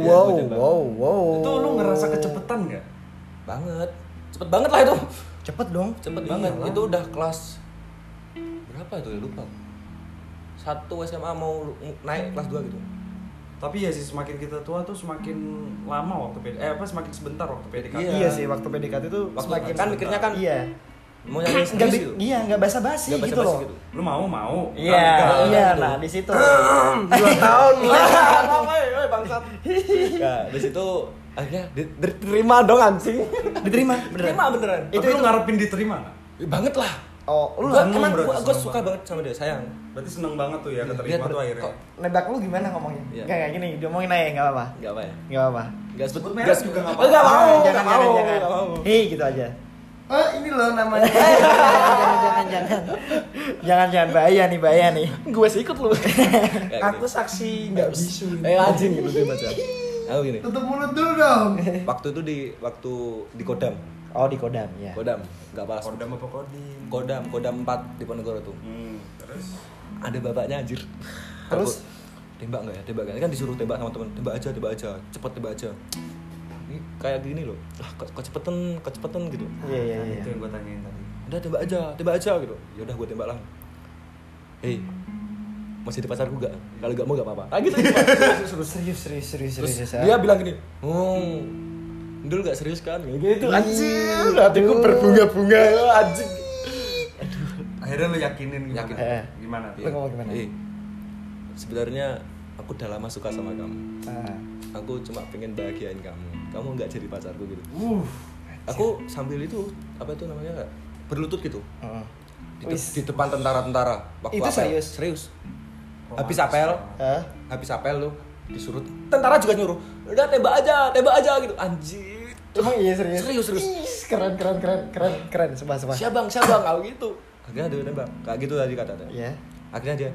Speaker 4: Iya,
Speaker 1: wow,
Speaker 4: gua tembak.
Speaker 1: wow, wow.
Speaker 2: Itu lu ngerasa kecepetan gak?
Speaker 4: banget cepet banget lah itu
Speaker 1: cepet dong.
Speaker 4: cepet banget itu udah kelas berapa itu ya lupa satu SMA mau lu- naik kelas 2 gitu
Speaker 2: Tapi ya sih semakin kita tua tuh semakin lama waktu PD. Eh apa semakin sebentar waktu PDKT.
Speaker 4: Iya.
Speaker 1: Iya sih, waktu PDKT itu
Speaker 4: Waktu
Speaker 1: semakin
Speaker 4: kan mikirnya kan-
Speaker 1: Iya.
Speaker 4: mau nyari
Speaker 1: Nggak
Speaker 4: serius
Speaker 1: bi-
Speaker 4: gitu
Speaker 1: iya, nggak basa-basi
Speaker 4: Nggak
Speaker 1: gitu
Speaker 4: basa-basi
Speaker 1: loh.
Speaker 4: gitu.
Speaker 2: Lu mau mau.
Speaker 1: Iya,
Speaker 4: Nggak,
Speaker 1: iya,
Speaker 4: gitu.
Speaker 1: nah di situ. Iya.
Speaker 3: dua tahun
Speaker 4: bangsat nah, di situ akhirnya di- diterima dong anjing
Speaker 1: Diterima, beneran.
Speaker 4: diterima beneran
Speaker 2: Itu, lu ngarepin diterima nggak?
Speaker 4: Eh, banget lah
Speaker 1: Oh, lu
Speaker 4: gua,
Speaker 2: seneng
Speaker 4: emang
Speaker 2: berarti
Speaker 4: gua, gua
Speaker 2: seneng
Speaker 4: suka banget sama dia sayang
Speaker 2: Berarti seneng banget tuh ya
Speaker 4: Dia
Speaker 2: keterima
Speaker 4: ber-
Speaker 2: tuh akhirnya.
Speaker 4: kok-
Speaker 1: nebak lu gimana ngomongnya?
Speaker 4: Iya.
Speaker 1: Enggak kayak gini, diomongin aja enggak apa-apa.
Speaker 4: nggak apa ya
Speaker 1: Enggak apa-apa.
Speaker 4: nggak sebut
Speaker 2: merek juga nggak apa-apa.
Speaker 4: nggak mau
Speaker 1: Jangan, jangan,
Speaker 4: nggak
Speaker 1: jangan,
Speaker 4: mau,
Speaker 1: jangan.
Speaker 4: nggak mau.
Speaker 1: Hei, gitu aja.
Speaker 2: Eh,
Speaker 5: Oh, ini loh namanya.
Speaker 1: jangan, jangan, jangan. Jangan, jangan bahaya nih, bahaya nih.
Speaker 4: gue sih ikut lu Kayak
Speaker 3: aku
Speaker 4: gitu.
Speaker 3: saksi nggak bisu
Speaker 4: eh anjing gitu dia baca aku gini
Speaker 5: Tutup mulut dulu dong.
Speaker 4: waktu itu di waktu di kodam
Speaker 1: Oh, di kodam ya.
Speaker 4: kodam nggak balas
Speaker 2: Kodam apa kodim?
Speaker 4: kodam kodam 4 di Ponegoro tuh
Speaker 2: Hmm, terus
Speaker 4: ada bapaknya anjir
Speaker 1: Terus?
Speaker 4: Aku, tembak nggak ya tembak nggak ya?" kan disuruh tembak sama teman tembak aja tembak aja cepet tembak aja ini kayak gini loh lah kok kok cepetan kok cepetan gitu
Speaker 1: Iya, iya, iya.
Speaker 2: itu yang gue tanyain tadi.
Speaker 4: udah tembak aja tembak aja gitu ya udah gue tembak lah hei masih di pacarku gak kalau gak mau gak apa-apa ah gitu
Speaker 1: Serius, serius, serius, serius,
Speaker 4: terus
Speaker 1: serius. ya? ah.
Speaker 4: dia bilang gini oh Dul gak serius kan kayak gitu
Speaker 1: Anjir,
Speaker 4: hatiku
Speaker 1: aduh.
Speaker 4: berbunga-bunga anjing
Speaker 2: Akhirnya lu yakinin gimana?
Speaker 4: Yakin.
Speaker 1: Eh.
Speaker 2: Gimana tuh? ya?
Speaker 1: Lu ngomong gimana?
Speaker 4: Hei, sebenarnya aku udah lama suka sama kamu
Speaker 1: Ah.
Speaker 4: aku cuma pengen bahagiain kamu kamu nggak jadi pacarku gitu
Speaker 2: Uh,
Speaker 4: aku sambil itu apa itu namanya Kak? berlutut gitu
Speaker 1: Heeh.
Speaker 4: di, te-
Speaker 1: Wis.
Speaker 4: di depan tentara-tentara waktu
Speaker 1: Itu
Speaker 4: apel.
Speaker 1: serius?
Speaker 4: serius
Speaker 2: Romantis
Speaker 4: habis apel
Speaker 1: Hah?
Speaker 4: habis apel lu disuruh tentara juga nyuruh udah tembak aja tembak aja gitu anjir
Speaker 1: Emang iya serius?
Speaker 4: Serius, serius.
Speaker 1: Ih, keren, keren, keren, keren, keren. Sumpah, sumpah.
Speaker 4: siabang siabang kalau gitu akhirnya dia nembak kayak gitu tadi katanya
Speaker 1: Iya.
Speaker 4: akhirnya dia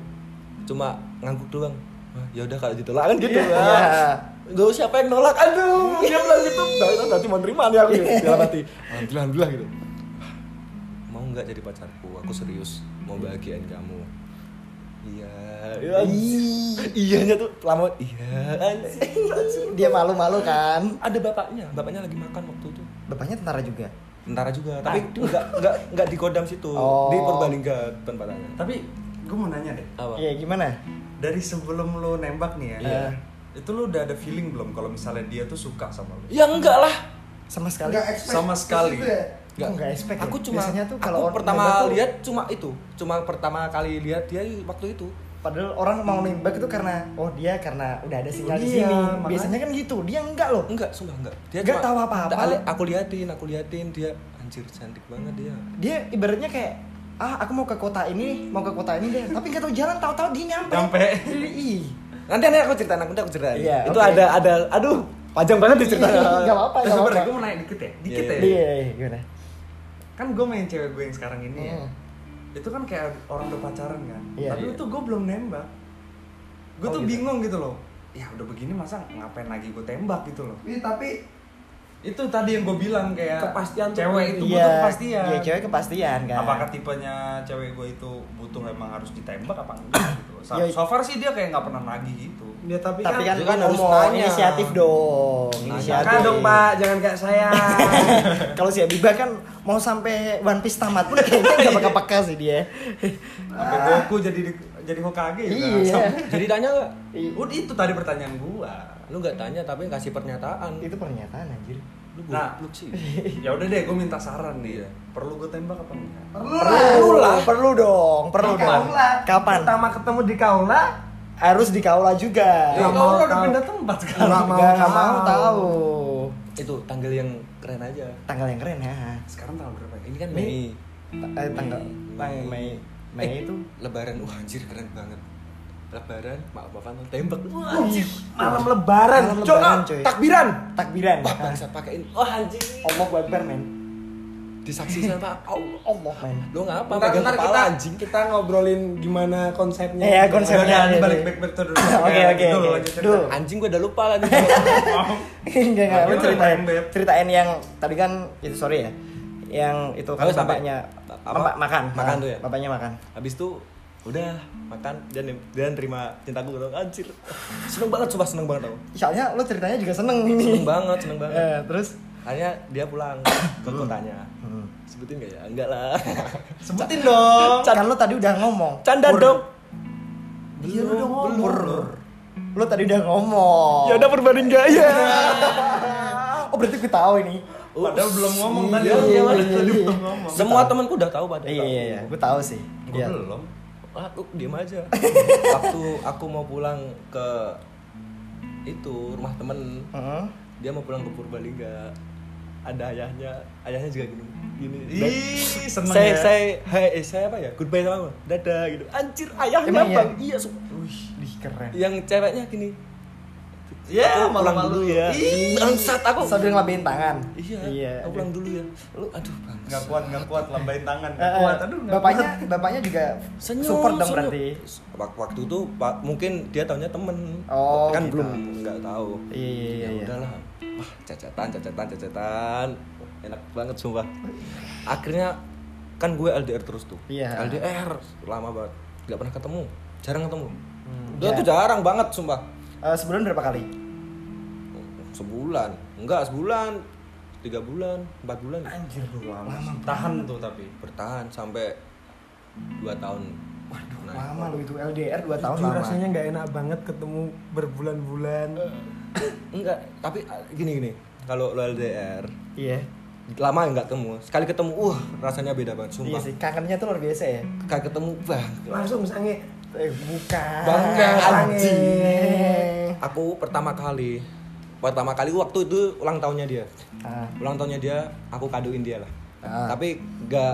Speaker 4: cuma ngangguk doang Wah, ya udah kalau ditolak kan gitu
Speaker 1: Iya.
Speaker 4: lah Duh, siapa yang nolak aduh dia bilang gitu nah itu nanti mau nerima nih aku gitu dalam hati alhamdulillah alhamdulillah gitu mau nggak jadi pacarku aku serius mau bahagiain kamu iya iya iyanya tuh lama iya anjing, anjing.
Speaker 1: Dia malu-malu kan?
Speaker 4: ada bapaknya bapaknya lagi makan waktu itu
Speaker 1: Bapaknya tentara juga.
Speaker 4: tentara juga tapi nggak nggak nggak di kodam situ
Speaker 1: Oh.
Speaker 4: di Purbalingga tempatnya
Speaker 2: tapi gue mau nanya deh.
Speaker 4: apa
Speaker 1: Iya, gimana?
Speaker 2: Dari sebelum lu nembak nih ya.
Speaker 4: Iya.
Speaker 2: Itu lu udah ada feeling belum kalau misalnya dia tuh suka sama lu?
Speaker 4: ya enggak lah
Speaker 1: Sama sekali.
Speaker 5: Nggak expect
Speaker 2: Sama
Speaker 5: terus
Speaker 2: sekali.
Speaker 5: itu ya.
Speaker 1: Aku nggak expect
Speaker 4: Aku
Speaker 1: ya.
Speaker 4: cuma
Speaker 1: Biasanya tuh kalau
Speaker 4: aku
Speaker 1: orang
Speaker 4: pertama
Speaker 1: nembak tuh-
Speaker 4: lihat cuma itu, cuma pertama kali lihat dia waktu itu.
Speaker 1: padahal orang mau nembak itu karena oh dia karena udah ada sinyal di
Speaker 3: Iya,
Speaker 1: sini
Speaker 3: makanya.
Speaker 1: biasanya kan gitu dia enggak loh
Speaker 4: enggak sumpah enggak
Speaker 1: Enggak
Speaker 4: cuma-
Speaker 1: tahu apa-apa.
Speaker 4: Tak li- aku liatin aku liatin dia anjir cantik banget dia
Speaker 1: dia ibaratnya kayak ah aku mau ke kota ini mau ke kota ini deh tapi nggak tahu jalan tahu-tahu dia nyampe
Speaker 2: Nyampe.
Speaker 1: Ih,
Speaker 4: nanti nanti aku ceritain nanti aku ceritain
Speaker 1: Iya,
Speaker 4: itu
Speaker 1: oke.
Speaker 4: ada ada aduh panjang banget di cerita
Speaker 1: Iya, nggak apa-apa
Speaker 2: Eh,
Speaker 1: nggak
Speaker 2: sabar,
Speaker 1: apa-apa
Speaker 2: gue mau nanya dikit ya, dikit
Speaker 4: Iya,
Speaker 2: ya.
Speaker 1: iya iya, gimana
Speaker 2: Kan gue main cewek gue yang sekarang ini ya.
Speaker 1: Hmm.
Speaker 2: Itu kan kayak orang udah pacaran kan.
Speaker 1: Iya.
Speaker 2: Tapi
Speaker 4: Iya.
Speaker 2: itu gue belum nembak. Gue
Speaker 1: Oh,
Speaker 2: tuh
Speaker 1: gitu.
Speaker 2: bingung gitu loh. Ya udah begini masa ngapain lagi gue tembak gitu loh.
Speaker 3: Iya,
Speaker 5: Ini tapi
Speaker 2: Itu tadi yang gue bilang kayak
Speaker 3: Kepastian tuh gitu.
Speaker 2: cewek itu
Speaker 3: penting.
Speaker 2: butuh kepastian.
Speaker 1: iya cewek kepastian kan
Speaker 2: Apakah tipenya cewek gue itu butuh memang harus ditembak apa enggak gitu. loh. So,
Speaker 1: Ya.
Speaker 2: so far sih dia kayak nggak pernah nagih gitu.
Speaker 3: Ya tapi,
Speaker 1: tapi kan,
Speaker 4: Dia
Speaker 1: kan
Speaker 4: kan harus
Speaker 1: ngomong,
Speaker 4: tanya.
Speaker 1: inisiatif dong inisiatif
Speaker 3: Jangan dong Pak, jangan kayak saya.
Speaker 1: kalau si Abiba kan mau sampai One Piece tamat pun kayaknya nggak bakal peka sih dia
Speaker 2: Sampai
Speaker 3: Ah.
Speaker 2: Goku jadi di- jadi Hokage gitu.
Speaker 1: iya
Speaker 4: jadi tanya nggak
Speaker 3: Iya.
Speaker 2: Udah itu tadi pertanyaan gua.
Speaker 4: lu nggak tanya tapi kasih pernyataan
Speaker 1: Iya. itu pernyataan anjir
Speaker 4: lu
Speaker 2: Nah.
Speaker 4: goblok sih Iya.
Speaker 2: ya udah deh gue minta saran nih perlu gue tembak apa enggak
Speaker 5: perlu lah.
Speaker 1: perlu lah perlu dong perlu
Speaker 5: Di
Speaker 1: dong
Speaker 5: Kaula.
Speaker 1: kapan
Speaker 3: Pertama ketemu di Kaula,
Speaker 1: harus di kaula juga
Speaker 3: Iya.
Speaker 2: ya,
Speaker 3: Nggak
Speaker 2: kalau
Speaker 3: mau
Speaker 2: udah
Speaker 3: tahu.
Speaker 2: pindah tempat sekarang
Speaker 3: Nggak mau
Speaker 1: Nggak- nggak mau
Speaker 3: tahu.
Speaker 1: tahu
Speaker 4: itu tanggal yang keren aja
Speaker 1: tanggal yang keren ya
Speaker 2: sekarang tanggal berapa ya?
Speaker 4: ini kan
Speaker 1: Mei.
Speaker 4: Mei
Speaker 1: Ta- eh, tanggal tang- Mei Mei itu
Speaker 4: lebaran wah anjir keren banget lebaran maaf maafan tembak wah
Speaker 1: anjir.
Speaker 3: malam lebaran,
Speaker 1: Malam
Speaker 3: Cok,
Speaker 1: lebaran, cuy.
Speaker 3: takbiran.
Speaker 1: takbiran
Speaker 4: wah
Speaker 1: Ah,
Speaker 4: bangsa Oh, pakaiin wah anjir
Speaker 1: Allah Akbar men
Speaker 4: disaksi sama Allah
Speaker 1: Allah men
Speaker 4: lu Oh, ngapa
Speaker 3: Ntar,
Speaker 4: pegang
Speaker 3: ntar
Speaker 4: kepala
Speaker 3: kita,
Speaker 4: anjing
Speaker 3: kita ngobrolin gimana konsepnya.
Speaker 1: Iya, konsep.
Speaker 2: Udah,
Speaker 1: Sebenarnya,
Speaker 2: udah, balik
Speaker 1: iya.
Speaker 2: back back tuh dulu
Speaker 1: Oke,
Speaker 2: Kayak gitu
Speaker 1: oke,
Speaker 2: dulu
Speaker 1: oke.
Speaker 2: lanjut cerita.
Speaker 1: Dulu.
Speaker 4: anjing gua udah lupa lagi
Speaker 1: Enggak enggak, lu
Speaker 2: Gimana,
Speaker 1: ceritain
Speaker 2: Beb?
Speaker 1: ceritain yang tadi kan itu sorry ya. Yang itu kan
Speaker 4: Lalu sampai-
Speaker 1: bapaknya
Speaker 4: apa?
Speaker 1: bapak makan.
Speaker 4: Makan
Speaker 1: Ah,
Speaker 4: tuh ya?
Speaker 1: Bapaknya makan.
Speaker 4: habis itu udah makan dan dan terima cintaku dong anjir seneng banget sumpah seneng banget tau
Speaker 1: Soalnya lu ceritanya juga seneng ini.
Speaker 4: seneng banget seneng banget
Speaker 1: Eh, terus
Speaker 4: akhirnya dia pulang ke kotanya sebutin gak ya enggak lah
Speaker 2: sebutin dong
Speaker 1: kan lu tadi udah ngomong.
Speaker 4: canda dong
Speaker 1: Iya, lu udah ngomong. Lu tadi udah ngomong.
Speaker 4: ya udah perbanding gaya
Speaker 1: Oh, berarti gue tahu ini.
Speaker 2: padahal belum ngomong tadi
Speaker 4: Iya, iya,
Speaker 2: Padahal
Speaker 4: iya,
Speaker 2: tadi
Speaker 4: iya.
Speaker 2: belum ngomong
Speaker 4: semua temanku udah tahu pada
Speaker 1: Iya iya iya, gue tahu sih.
Speaker 2: gue
Speaker 1: Iya.
Speaker 2: belum Ah,
Speaker 4: aku
Speaker 2: uh,
Speaker 4: diem aja waktu aku mau pulang ke itu rumah temen
Speaker 1: Heeh.
Speaker 4: dia mau pulang ke Purbalingga ada ayahnya ayahnya juga gini gini
Speaker 2: ih seneng
Speaker 4: saya
Speaker 2: ya
Speaker 4: saya hai eh, saya apa ya goodbye sama mama dadah gitu anjir ayahnya
Speaker 1: Emang iya?
Speaker 4: bang iya su-
Speaker 1: Wih, ih, keren.
Speaker 4: yang ceweknya gini
Speaker 2: Ya,
Speaker 4: aku pulang
Speaker 2: malu-malu.
Speaker 4: dulu Iya, ya
Speaker 2: Ih.
Speaker 4: bangsat aku
Speaker 1: Sambil ngelambaiin tangan.
Speaker 4: iya,
Speaker 1: Iya.
Speaker 4: aku pulang dulu ya lu aduh bang
Speaker 2: nggak kuat nggak kuat lambain tangan
Speaker 1: Eh,
Speaker 2: nggak
Speaker 1: eh,
Speaker 2: kuat aduh nggak
Speaker 1: bapaknya bapaknya juga support dong berarti.
Speaker 4: Wak- waktu itu pak mungkin dia taunya temen
Speaker 1: Oh,
Speaker 4: kan
Speaker 1: gitu.
Speaker 4: belum nggak tahu
Speaker 1: Iya iya iya.
Speaker 4: ya
Speaker 1: iya.
Speaker 4: udahlah wah cacatan cacatan cacatan Wah, enak banget sumpah akhirnya kan gue LDR terus tuh
Speaker 1: Iya.
Speaker 4: LDR lama banget nggak pernah ketemu jarang ketemu udah
Speaker 1: Ya.
Speaker 4: tuh jarang banget sumpah
Speaker 1: Eh, sebelum berapa kali?
Speaker 4: sebulan enggak sebulan tiga bulan empat bulan
Speaker 1: Anjir lu lama.
Speaker 2: tahan tuh tapi
Speaker 4: bertahan sampai dua tahun waduh
Speaker 1: Lama lu itu LDR 2 tahun
Speaker 3: Jujur
Speaker 1: lama.
Speaker 3: rasanya nggak enak banget ketemu berbulan-bulan.
Speaker 4: enggak tapi ah, gini gini kalau lo LDR
Speaker 1: Iya.
Speaker 4: lama nggak ketemu sekali ketemu uh rasanya beda banget
Speaker 1: Iya
Speaker 4: sumpah
Speaker 1: sih, kangennya tuh luar biasa ya.
Speaker 4: sekali ketemu bang
Speaker 3: Langsung sange.
Speaker 1: Eh, bukan.
Speaker 4: Bangke,
Speaker 1: anjing.
Speaker 4: Aku pertama kali pertama kali waktu itu ulang tahunnya dia.
Speaker 1: Ah.
Speaker 4: Ulang tahunnya dia aku kadoin dia lah.
Speaker 1: Ah.
Speaker 4: Tapi gak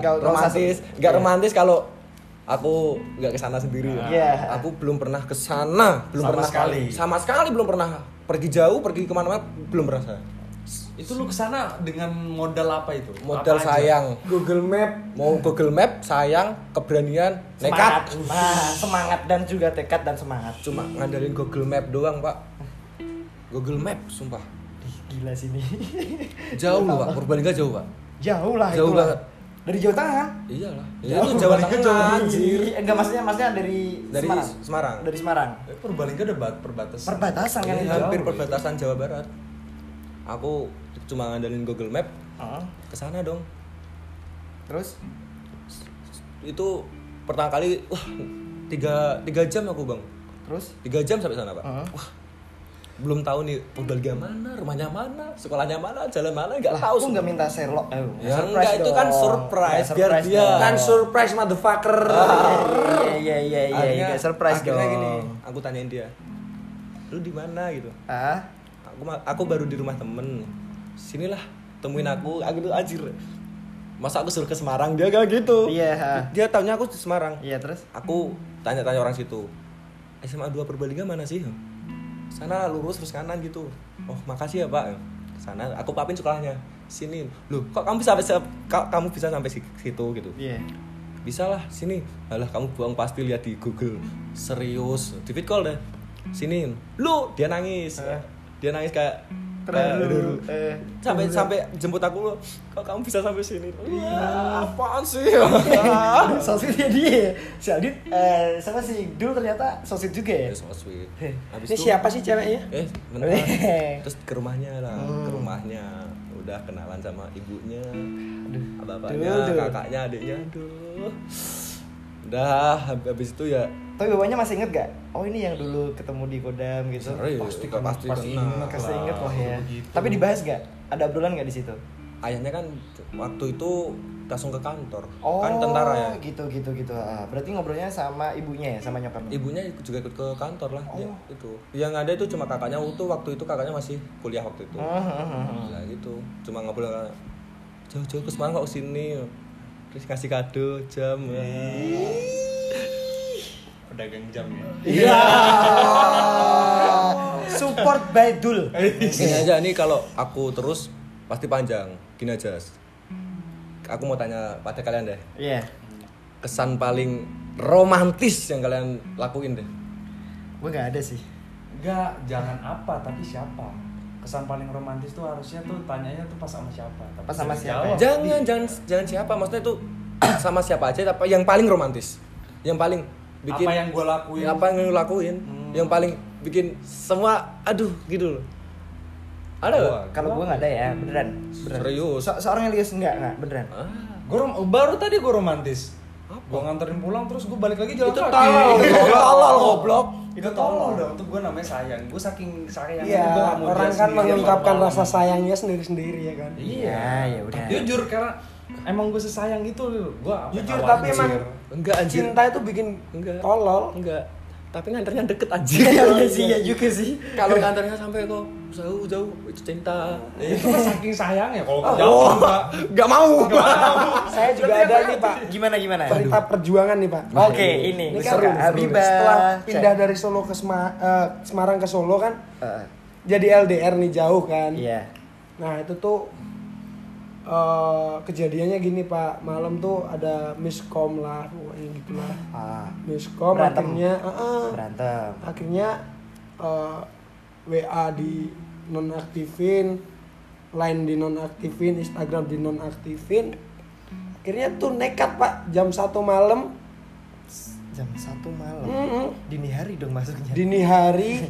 Speaker 1: Nggak- nggak usah
Speaker 4: romantis,
Speaker 1: se-
Speaker 4: gak
Speaker 1: iya.
Speaker 4: romantis kalau aku nggak kesana sendiri.
Speaker 1: Iya.
Speaker 4: Aku belum pernah kesana, belum
Speaker 1: Sama
Speaker 4: pernah
Speaker 1: sekali.
Speaker 4: sama sekali belum pernah pergi jauh, pergi kemana-mana belum pernah saya.
Speaker 2: itu lu kesana dengan modal apa itu
Speaker 4: Modal
Speaker 2: Apa aja?
Speaker 4: sayang,
Speaker 3: Google Map
Speaker 4: mau Google Map, sayang, keberanian,
Speaker 1: Semangat.
Speaker 4: nekat.
Speaker 1: Nah, semangat dan juga tekad dan semangat.
Speaker 4: Cuma ngandelin Google Map doang pak. Google Map, sumpah.
Speaker 1: Ih, Gila sini.
Speaker 4: Jauh loh pak, Purbalingga jauh pak.
Speaker 1: Jauh lah
Speaker 4: Jauh
Speaker 1: itulah.
Speaker 4: banget.
Speaker 1: Dari Jawa Tengah.
Speaker 4: Iyalah. Ya, itu Jawa
Speaker 1: Balik ke
Speaker 4: Tengah
Speaker 1: Jawa.
Speaker 4: anjir.
Speaker 1: Ih, Eh, Enggak maksudnya maksudnya dari
Speaker 4: Dari
Speaker 1: Semarang.
Speaker 4: Semarang.
Speaker 1: Dari Semarang.
Speaker 2: Eh, Purbalingga udah ba- perbatasan
Speaker 1: Perbatasan kan
Speaker 4: Ini
Speaker 1: itu.
Speaker 4: Iya, hampir
Speaker 2: Jauh,
Speaker 4: perbatasan Jawa Barat. Aku cuma ngandelin Google Map
Speaker 1: Heeh.
Speaker 4: ke sana dong.
Speaker 1: Terus
Speaker 4: Itu pertama kali wah tiga, tiga jam aku bang
Speaker 1: terus
Speaker 4: tiga jam sampai sana pak
Speaker 1: Heeh.
Speaker 4: wah belum tahu nih Purbalga mana, rumahnya mana, sekolahnya mana, jalan mana, nggak
Speaker 1: Lah,
Speaker 4: tahu.
Speaker 1: aku nggak minta Sherlock. Eh,
Speaker 4: Ya
Speaker 1: surprise
Speaker 4: enggak, itu kan
Speaker 1: dong.
Speaker 4: surprise,
Speaker 1: Ya, surprise
Speaker 4: biar dia-
Speaker 1: dong.
Speaker 3: Kan surprise motherfucker.
Speaker 1: Iya iya iya iya,
Speaker 4: Akhirnya-
Speaker 1: nggak surprise dong.
Speaker 4: akhirnya gini, aku tanyain dia, lu di mana gitu?
Speaker 1: Ah,
Speaker 4: Aku ma- aku baru di rumah temen, sinilah temuin aku, aku tuh anjir. Masa aku suruh ke Semarang dia gak gitu?
Speaker 1: Iya, ha.
Speaker 4: Dia taunya aku di Semarang.
Speaker 1: iya terus.
Speaker 4: Aku tanya-tanya orang situ. SMA 2 Purbalingga mana sih? Sana lurus terus kanan gitu. Oh, makasih ya, Pak. Sana aku papin sekolahnya. Sini. Loh, kok kamu bisa bisa- ka- kamu bisa sampai si- situ gitu?
Speaker 1: Iya.
Speaker 4: Bisa lah, sini. Alah, kamu buang pasti lihat di Google. Serius, di fit call deh. Sini. Lu, dia nangis.
Speaker 3: Eh.
Speaker 4: Dia nangis kayak
Speaker 1: Terlalu. Eh.
Speaker 4: sampai sampai jemput aku kok kamu bisa sampai sini
Speaker 3: Iya.
Speaker 4: Wah, apaan
Speaker 1: Eh,
Speaker 4: sih Ya, Ah.
Speaker 1: Sosisnya dia. Si Aldin eh sama si Dul ternyata sosis juga ya.
Speaker 4: Eh, so sweet.
Speaker 3: Ini
Speaker 4: Habis itu-
Speaker 3: siapa sih ceweknya?
Speaker 4: Eh, bentar. Terus ke rumahnya lah, ke
Speaker 1: Hmm.
Speaker 4: rumahnya. Udah kenalan sama ibunya,
Speaker 1: Aduh,
Speaker 4: bapaknya,
Speaker 1: aduh.
Speaker 4: kakaknya, adiknya. Aduh. Udah, hab- habis itu ya
Speaker 1: Tapi bapaknya masih inget gak? Oh ini yang dulu ketemu di Kodam gitu.
Speaker 4: Sorry,
Speaker 2: Pasti
Speaker 4: udah
Speaker 2: kan,
Speaker 4: pasti,
Speaker 2: pasti
Speaker 4: kenal.
Speaker 2: ingat
Speaker 1: Kasih
Speaker 2: lah,
Speaker 1: inget lah ya.
Speaker 2: begitu.
Speaker 1: Tapi dibahas gak? Ada obrolan gak di situ?
Speaker 4: Ayahnya kan waktu itu langsung ke kantor.
Speaker 1: Oh,
Speaker 4: kan tentara ya.
Speaker 1: Gitu gitu gitu. Ah, berarti ngobrolnya sama ibunya ya, sama nyokapnya.
Speaker 4: Ibunya ikut- juga ikut ke kantor lah.
Speaker 1: Oh.
Speaker 4: Ya, itu. Yang ada itu cuma kakaknya waktu waktu itu kakaknya masih kuliah waktu itu.
Speaker 1: Hmm.
Speaker 4: Nah gitu, cuma ngobrol kayak, jauh-jauh ke Semarang kok sini terus ngasih kado jam ya.
Speaker 2: pedagang jam ya
Speaker 1: Oh, Support by Dul.
Speaker 2: Eh.
Speaker 4: gini aja nih kalau aku terus pasti panjang gini aja aku mau tanya pada kalian deh
Speaker 1: Iya.
Speaker 4: kesan paling romantis yang kalian lakuin deh
Speaker 1: Gue gak ada sih.
Speaker 2: enggak jangan apa tapi siapa kesan paling romantis tuh harusnya tuh tanyanya tuh pas sama siapa tapi
Speaker 1: Pas sama
Speaker 2: jangan
Speaker 1: siapa ya?
Speaker 2: jawab.
Speaker 4: jangan jangan jangan siapa maksudnya itu sama siapa aja tapi yang paling romantis yang paling bikin
Speaker 2: apa yang gue lakuin
Speaker 4: apa yang lu lakuin yang paling bikin semua aduh gitu loh ada nggak?
Speaker 2: Wah,
Speaker 1: Kalau gue gak ada ya, beneran. beneran.
Speaker 4: serius
Speaker 1: So- seorang Elias enggak, enggak, beneran.
Speaker 4: Ah.
Speaker 2: Gua rom- oh, baru tadi gue romantis gue nganterin pulang terus gue balik lagi jalan
Speaker 4: Itu
Speaker 2: kaki.
Speaker 4: tolol, itu tolol, goblok.
Speaker 2: itu tolol dong itu gue namanya sayang gue saking sayang
Speaker 3: Iya, orang kan mengungkapkan rasa sayangnya sendiri-sendiri ya kan.
Speaker 2: iya
Speaker 1: ya udah.
Speaker 2: jujur karena emang gue sesayang gitu, itu gue
Speaker 3: Jujur tapi emang
Speaker 4: enggak anjir
Speaker 3: cinta itu bikin
Speaker 4: Enggak.
Speaker 3: tolol.
Speaker 4: enggak tapi nganternya deket
Speaker 1: Iya,
Speaker 4: anjir
Speaker 1: Iya sih, iya juga sih.
Speaker 4: kalau nganternya sampai kok jauh jauh itu cinta
Speaker 2: itu kan saking sayangnya kalau
Speaker 4: Oh,
Speaker 2: nggak jawab enggak
Speaker 4: nggak mau
Speaker 3: Saya juga ada nih Pak.
Speaker 1: Gimana gimana?
Speaker 3: Cerita perjuangan nih Pak.
Speaker 1: Oke, ini.
Speaker 3: Ini
Speaker 1: Gue
Speaker 3: kan
Speaker 1: suka. Habibah.
Speaker 3: setelah pindah dari Solo ke Sema- eh, Semarang ke Solo kan
Speaker 1: Eh,
Speaker 3: jadi LDR nih jauh kan.
Speaker 1: Iya.
Speaker 3: Nah itu tuh eh, kejadiannya gini Pak malam tuh ada miskom lah pokoknya gitulah.
Speaker 1: Ah,
Speaker 3: Miskom
Speaker 1: Berantem.
Speaker 3: akhirnya eh, eh,
Speaker 1: berantem.
Speaker 3: akhirnya eh, WA di nonaktifin, line di nonaktifin, Instagram di nonaktifin. Akhirnya tuh nekat Pak jam 1 malam
Speaker 1: Jam 1 malam.
Speaker 3: Mm-mm.
Speaker 1: Dini hari dong masuknya.
Speaker 3: dini hari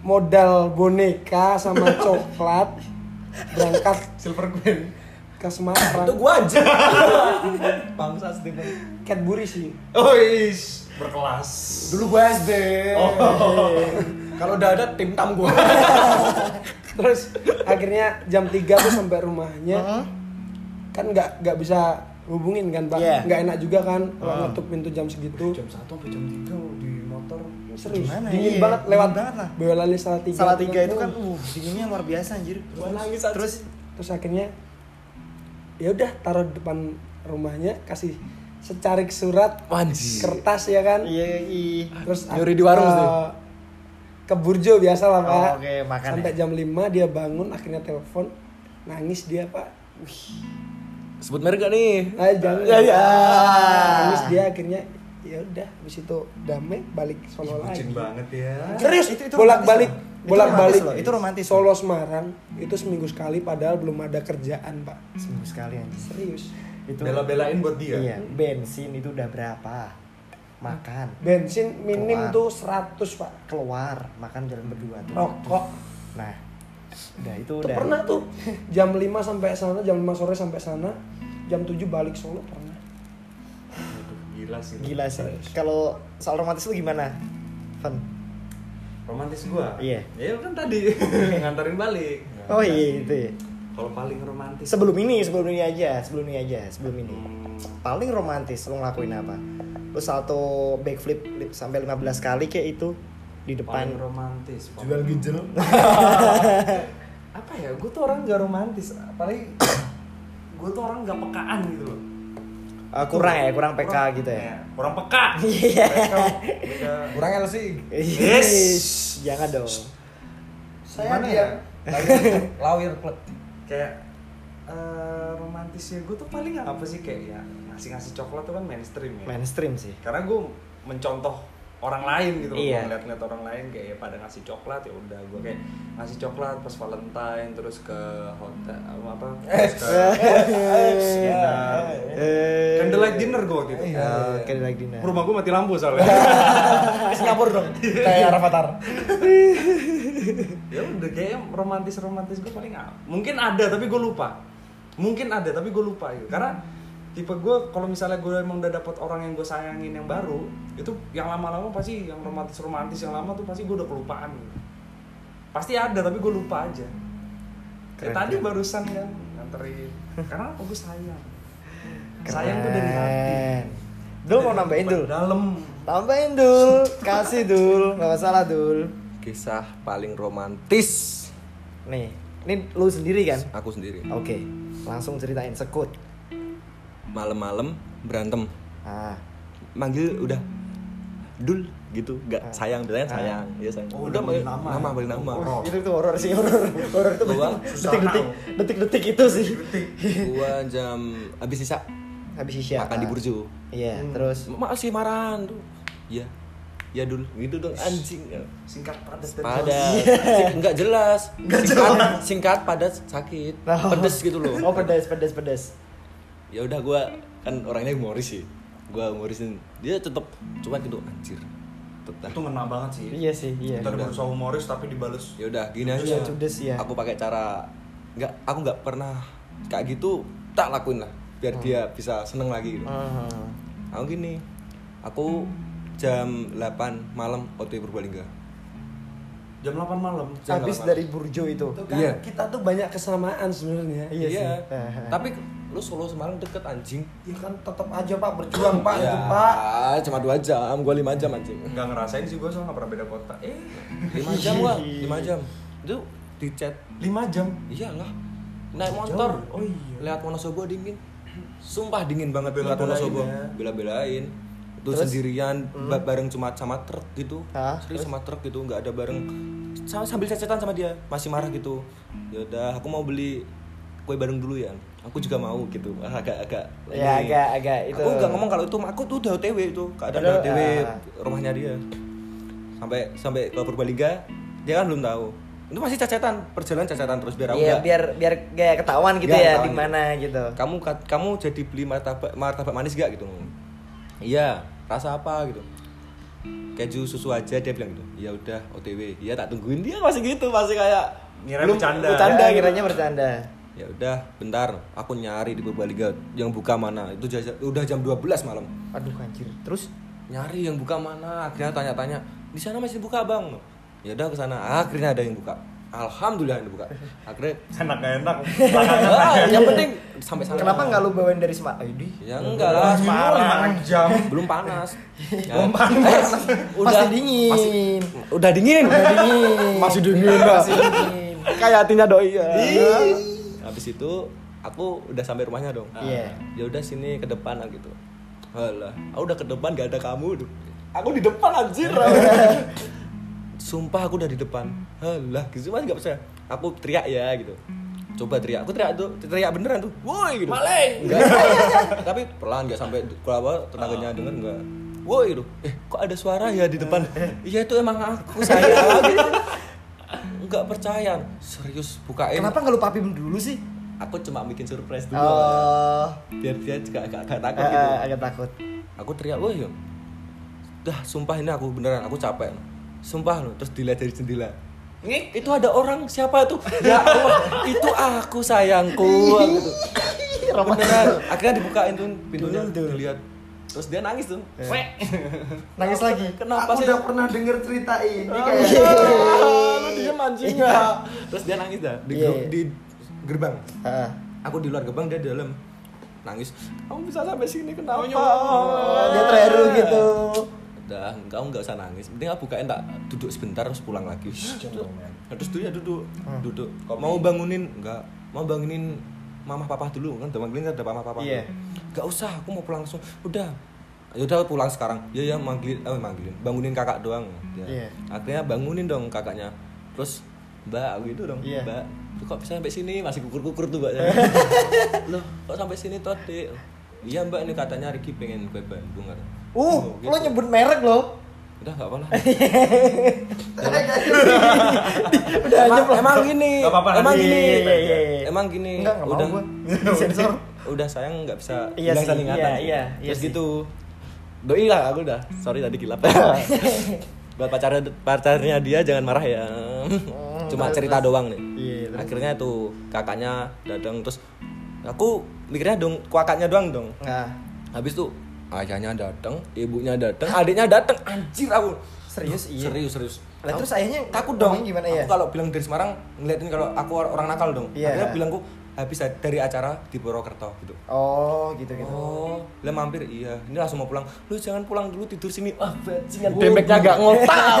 Speaker 3: modal boneka sama coklat berangkat
Speaker 2: silver queen
Speaker 3: ke Semarang.
Speaker 4: itu gua anjir bangsa Steven
Speaker 3: Cadbury sih.
Speaker 2: oh is berkelas
Speaker 1: Dulu gue SD. Oh.
Speaker 4: kalau udah ada tim tam gua
Speaker 3: Terus akhirnya jam 3 tuh sampai rumahnya. Kan nggak nggak bisa hubungin kan, Pak.
Speaker 1: Iya.
Speaker 3: Nggak enak juga kan kalau nutup pintu jam segitu.
Speaker 2: jam satu sampai jam tiga di motor
Speaker 3: Serius,
Speaker 1: Gimana, iya.
Speaker 3: dingin banget lewat
Speaker 1: Dingin banget lah.
Speaker 3: Boyolali Salatiga.
Speaker 1: Salah tiga itu kan uh dinginnya luar biasa anjir.
Speaker 4: Gua nangis, anjir.
Speaker 1: Terus
Speaker 3: Terus akhirnya ya udah taruh di depan rumahnya kasih secarik surat
Speaker 4: anjir
Speaker 3: kertas ya kan.
Speaker 1: iya iya.
Speaker 3: Terus
Speaker 4: Nyuri di warung
Speaker 3: eh,
Speaker 4: sih.
Speaker 3: Ke Burjo biasa lah,
Speaker 1: Oh,
Speaker 3: Pak.
Speaker 1: oke, makan
Speaker 3: Sampai
Speaker 1: ya.
Speaker 3: jam 5 dia bangun akhirnya telepon nangis dia, Pak.
Speaker 4: sebut merek gak nih
Speaker 3: Ah, jangan.
Speaker 4: ya ya
Speaker 3: Terus dia akhirnya ya udah habis itu damai balik Solo lagi.
Speaker 2: banget ya
Speaker 3: Serius
Speaker 1: Itu- itu
Speaker 3: bolak-balik
Speaker 1: romantis loh. Itu romantis
Speaker 3: bolak-balik
Speaker 1: loh, itu romantis loh.
Speaker 3: Solo Semarang itu seminggu sekali padahal belum ada kerjaan, Pak.
Speaker 1: seminggu sekali anjir.
Speaker 3: Serius.
Speaker 1: Itu
Speaker 2: bela-belain buat dia
Speaker 1: Iya, bensin itu udah berapa? Makan,
Speaker 3: Bensin
Speaker 1: Keluar.
Speaker 3: minim tuh 100, Pak.
Speaker 1: keluar, makan jalan berdua tuh.
Speaker 3: Rokok.
Speaker 1: Nah, udah itu
Speaker 3: Tuh
Speaker 1: udah.
Speaker 3: pernah tuh jam 5 sampai sana, jam 5 sore sampai sana, jam 7 balik Solo pernah.
Speaker 2: Aduh, gila sih
Speaker 1: Gila sih. Kalau soal romantis lu gimana? Fun.
Speaker 2: romantis gua
Speaker 1: Iya.
Speaker 2: ya kan tadi nganterin balik
Speaker 1: Oh iya itu. ya.
Speaker 2: kalau paling romantis
Speaker 1: Sebelum ini, sebelum ini aja, sebelum ini aja, sebelum ini.
Speaker 2: Hmm.
Speaker 1: Paling romantis lo ngelakuin apa? Lo salto backflip lip- sampai 15 kali kayak itu di
Speaker 2: paling
Speaker 1: depan.
Speaker 2: romantis
Speaker 4: Jual ginjal.
Speaker 2: apa ya gue tuh orang gak romantis apalagi gue tuh orang gak pekaan gitu loh
Speaker 1: Eh, kurang ya, kurang PK gitu ya.
Speaker 2: kurang peka
Speaker 1: Iya.
Speaker 2: Mereka beda.
Speaker 4: Kurang LC.
Speaker 2: Yes.
Speaker 1: Yes. Jangan dong.
Speaker 5: Saya
Speaker 2: Gimana
Speaker 1: ya?
Speaker 5: dia
Speaker 4: Lawyer plek.
Speaker 2: kayak eh, romantisnya gue tuh paling apa sih kayak ya ngasih ngasih coklat tuh kan mainstream ya
Speaker 1: Mainstream sih.
Speaker 2: karena gue mencontoh orang lain gitu loh
Speaker 1: Iya.
Speaker 2: Gua ngeliat-ngeliat orang lain kayak ya pada ngasih coklat ya udah gue kayak ngasih coklat pas Valentine terus ke hotel apa apa terus ke
Speaker 1: ya.
Speaker 2: dinner
Speaker 1: Eh.
Speaker 2: candlelight dinner gue waktu itu Iya.
Speaker 1: Eh, candlelight dinner.
Speaker 2: rumah gue mati lampu soalnya
Speaker 4: Singapura dong. Kayak Rafathar.
Speaker 2: ya udah kayak romantis romantis gue paling apa mungkin ada tapi gue lupa mungkin ada tapi gue lupa gitu karena tipe gue kalau misalnya gue emang udah dapet orang yang gue sayangin yang baru itu yang lama-lama pasti yang romantis romantis yang lama tuh pasti gue udah kelupaan gitu. pasti ada tapi gue lupa aja kayak
Speaker 1: Keren,
Speaker 2: tadi
Speaker 1: keren.
Speaker 2: barusan kan nganterin karena apa gue sayang sayang tuh dari hati
Speaker 1: Keren. Dul mau nambahin dul.
Speaker 2: dalam
Speaker 1: Tambahin dul. Kasih dul. Gak masalah dul.
Speaker 4: Kisah paling romantis
Speaker 1: Nih, ini lu sendiri kan?
Speaker 4: aku sendiri.
Speaker 1: Oke, langsung ceritain sekut.
Speaker 4: Malam-malam berantem.
Speaker 1: Ah,
Speaker 4: Manggil udah dul gitu nggak sayang bilangnya
Speaker 1: Ah.
Speaker 4: sayang ya sayang
Speaker 2: Oh, udah manggil nama.
Speaker 4: nama balik nama
Speaker 2: Oh.
Speaker 1: itu tuh horor sih, horor. Horor tuh
Speaker 4: Gua
Speaker 1: detik-detik, detik-detik itu sih.
Speaker 4: gua jam abis sisa
Speaker 1: Habis isya.
Speaker 4: makan di Hmm. burjo
Speaker 1: Iya, terus
Speaker 4: masih marahan tuh ya ya dul gitu dong anjing
Speaker 2: singkat padat dan
Speaker 4: padat Sing- nggak jelas singkat, singkat padat sakit
Speaker 1: Oh.
Speaker 4: pedes gitu loh
Speaker 1: Oh, pedas, pedas, pedas.
Speaker 4: ya udah gua kan orangnya humoris sih gua humorisin dia tetep cuma gitu anjir
Speaker 2: jelas.
Speaker 4: tetep
Speaker 2: itu ngena banget sih
Speaker 1: Iya sih, iya.
Speaker 2: kita udah berusaha humoris tapi dibales
Speaker 4: ya udah gini
Speaker 1: Judes ya,
Speaker 4: aja
Speaker 1: judes ya.
Speaker 4: aku pakai cara nggak aku nggak pernah kayak gitu tak lakuin lah biar
Speaker 1: Hmm.
Speaker 4: dia bisa seneng lagi gitu
Speaker 1: Ah,
Speaker 4: aku gini aku jam 8 malam OTW Purbalingga
Speaker 2: jam 8 malam
Speaker 4: Jangan
Speaker 1: Habis
Speaker 4: lama.
Speaker 1: dari burjo itu.
Speaker 3: Tuh kan,
Speaker 4: Iya.
Speaker 3: kita tuh banyak kesamaan sebenarnya.
Speaker 1: Iya sih.
Speaker 4: tapi lu Solo Semarang deket anjing
Speaker 3: Ya kan tetap aja Pak berjuang Pak,
Speaker 4: Ya,
Speaker 3: itu Pak.
Speaker 4: cuma 2 jam, gua 5 jam anjing.
Speaker 2: nggak ngerasain sih gue soalnya nggak pernah beda kota eh
Speaker 4: 5 jam gua, 5 jam. Itu di chat.
Speaker 2: 5 jam
Speaker 4: Iyalah. Naik motor.
Speaker 2: Jauh. Oh iya.
Speaker 4: Lihat Wonosobo dingin. Sumpah dingin banget lihat
Speaker 2: Bela-belain
Speaker 4: Wonosobo. Hmm.
Speaker 2: ya.
Speaker 4: Bela-belain. Itu
Speaker 1: Terus?
Speaker 4: sendirian ba- bareng cuma sama truk gitu.
Speaker 1: Hah?
Speaker 4: Serius sama truk gitu, nggak ada bareng. Sama sambil cecetan sama dia, masih marah gitu. Ya udah, aku mau beli kue bareng dulu ya. Aku juga mau gitu. Ah, Agak agak
Speaker 1: Ya,
Speaker 4: ini.
Speaker 1: agak- agak itu.
Speaker 4: Aku nggak ngomong kalau itu aku tuh udah OTW itu. Keadaan udah
Speaker 1: Padahal,
Speaker 4: OTW
Speaker 1: ah.
Speaker 4: rumahnya dia. Sampai sampai ke Purbalingga, dia kan belum tahu. Itu masih cacatan, perjalanan cacatan terus biar aku
Speaker 1: Iya,
Speaker 4: nggak-
Speaker 1: biar biar kayak ketahuan gitu
Speaker 4: Nggak,
Speaker 1: ya
Speaker 4: ketahuan
Speaker 1: di mana gitu.
Speaker 4: kamu kat- kamu jadi beli martabak martabak manis gak gitu iya rasa apa gitu keju susu aja dia bilang gitu ya udah otw iya tak tungguin dia masih gitu masih kayak
Speaker 2: Ngira bercanda.
Speaker 4: Iya,
Speaker 1: Bercanda
Speaker 4: gitu.
Speaker 1: kiranya bercanda.
Speaker 4: ya udah bentar aku nyari di Purbalingga yang buka mana itu jaja- udah jam 12 malam
Speaker 1: Aduh anjir. Terus
Speaker 4: nyari yang buka mana akhirnya tanya-tanya di sana masih buka bang ya udah ke sana akhirnya ada yang buka alhamdulillah yang buka akhirnya
Speaker 2: enak gak enak
Speaker 4: Ah, yang penting sampai sana
Speaker 1: iya. kenapa nggak lu bawain dari Sma? Aidi.
Speaker 4: ya enggak lah
Speaker 2: parah jam
Speaker 4: belum panas Ya.
Speaker 2: Belum panas.
Speaker 4: Eh,
Speaker 1: Masih dingin.
Speaker 4: udah dingin
Speaker 1: Udah dingin.
Speaker 4: masih dingin Mbak.
Speaker 1: Masih dingin.
Speaker 4: kayak hatinya doi ya habis itu aku udah sampai rumahnya dong
Speaker 1: Iya.
Speaker 4: ya udah sini ke depan lah gitu Alah, aku udah ke depan gak ada kamu duh. Aku di depan anjir. Sumpah aku udah di depan. Alah, gitu masih gak percaya. Aku teriak ya gitu. Coba teriak. Aku teriak tuh, teriak beneran tuh. Woi gitu. Maling. Tapi perlahan gak sampai kalau apa tetangganya denger enggak. Woi gitu. Eh, kok ada suara ya di depan? Iya itu emang aku saya gitu. Enggak percaya. Serius bukain.
Speaker 1: Kenapa nggak lu papim dulu sih?
Speaker 4: Aku cuma bikin surprise Iya. dulu.
Speaker 1: Oh,
Speaker 4: Biar dia juga agak, agak takut gitu
Speaker 1: eh, agak takut.
Speaker 4: aku teriak wah yuk dah sumpah ini aku beneran aku capek sumpah loh terus dilihat dari jendela Ngik, itu ada orang siapa tuh ya Allah itu aku sayangku gitu beneran akhirnya dibukain tuh pintunya dilihat terus dia nangis tuh
Speaker 2: Wek.
Speaker 1: Iya. Nangis lagi.
Speaker 4: kenapa
Speaker 5: aku
Speaker 4: sih
Speaker 5: udah pernah denger cerita ini
Speaker 4: Ah,
Speaker 5: kayak
Speaker 4: lu diem anjing ya terus dia nangis dah di,
Speaker 1: Iya,
Speaker 4: ger-
Speaker 1: iya.
Speaker 4: di gerbang
Speaker 1: Heeh.
Speaker 4: aku di luar gerbang dia di dalam nangis kamu bisa sampai sini
Speaker 1: Oh,
Speaker 4: kenapa
Speaker 1: dia terharu gitu.
Speaker 4: iya. udah kamu nggak usah nangis mending aku bukain tak duduk sebentar terus pulang lagi Nah, terus dia duduk duduk mau bangunin nggak mau bangunin mama papa dulu kan udah manggilin kan ada mama papa
Speaker 1: Iya.
Speaker 4: nggak usah aku mau pulang langsung udah ya udah pulang sekarang ya ya manggilin eh, manggilin bangunin kakak doang ya.
Speaker 1: Iya.
Speaker 4: akhirnya bangunin dong kakaknya terus mbak aku gitu dong
Speaker 1: Iya.
Speaker 4: mbak "Lu kok bisa sampai sini masih kukur kukur tuh mbak loh kok sampai sini tuh Dek?" iya mbak ini katanya Ricky pengen ke Bandung kan
Speaker 1: Uh, lo nyebut merek lo.
Speaker 4: udah nggak apa lah Iya.
Speaker 1: Udah aja
Speaker 4: emang, emang gini
Speaker 2: Nggak apa-apa,
Speaker 4: emang
Speaker 2: nanti.
Speaker 4: gini
Speaker 1: Iya, iya, iya.
Speaker 4: emang gini
Speaker 1: Enggak, enggak mau
Speaker 4: udah
Speaker 1: gua. Disensor.
Speaker 4: udah sayang nggak bisa
Speaker 1: Iya
Speaker 4: bilang
Speaker 1: sih,
Speaker 4: saling ingatan
Speaker 1: iya,
Speaker 4: sih.
Speaker 1: iya, iya
Speaker 4: terus
Speaker 1: sih.
Speaker 4: gitu doi lah aku udah sorry tadi kilap buat pacarnya pacarnya dia jangan marah ya cuma cerita doang nih
Speaker 1: Iya, Hmm, terus.
Speaker 4: akhirnya tuh kakaknya datang terus aku mikirnya dong kakaknya doang dong
Speaker 1: Nah,
Speaker 4: habis tuh ayahnya datang ibunya datang adiknya datang anjir aku
Speaker 1: serius iya.
Speaker 4: serius serius
Speaker 1: Lah,
Speaker 4: Aku
Speaker 1: terus ayahnya
Speaker 4: takut dong
Speaker 1: ngomongnya gimana ya?
Speaker 4: aku kalau bilang dari Semarang ngeliatin kalau aku or- orang nakal dong
Speaker 1: Iya.
Speaker 4: akhirnya bilangku habis dari acara di Purwokerto gitu
Speaker 1: Oh, gitu gitu.
Speaker 4: oh lah mampir iya ini langsung mau pulang lu jangan pulang dulu tidur sini ah bajingan
Speaker 1: Wuh.
Speaker 4: demeknya gak ngotak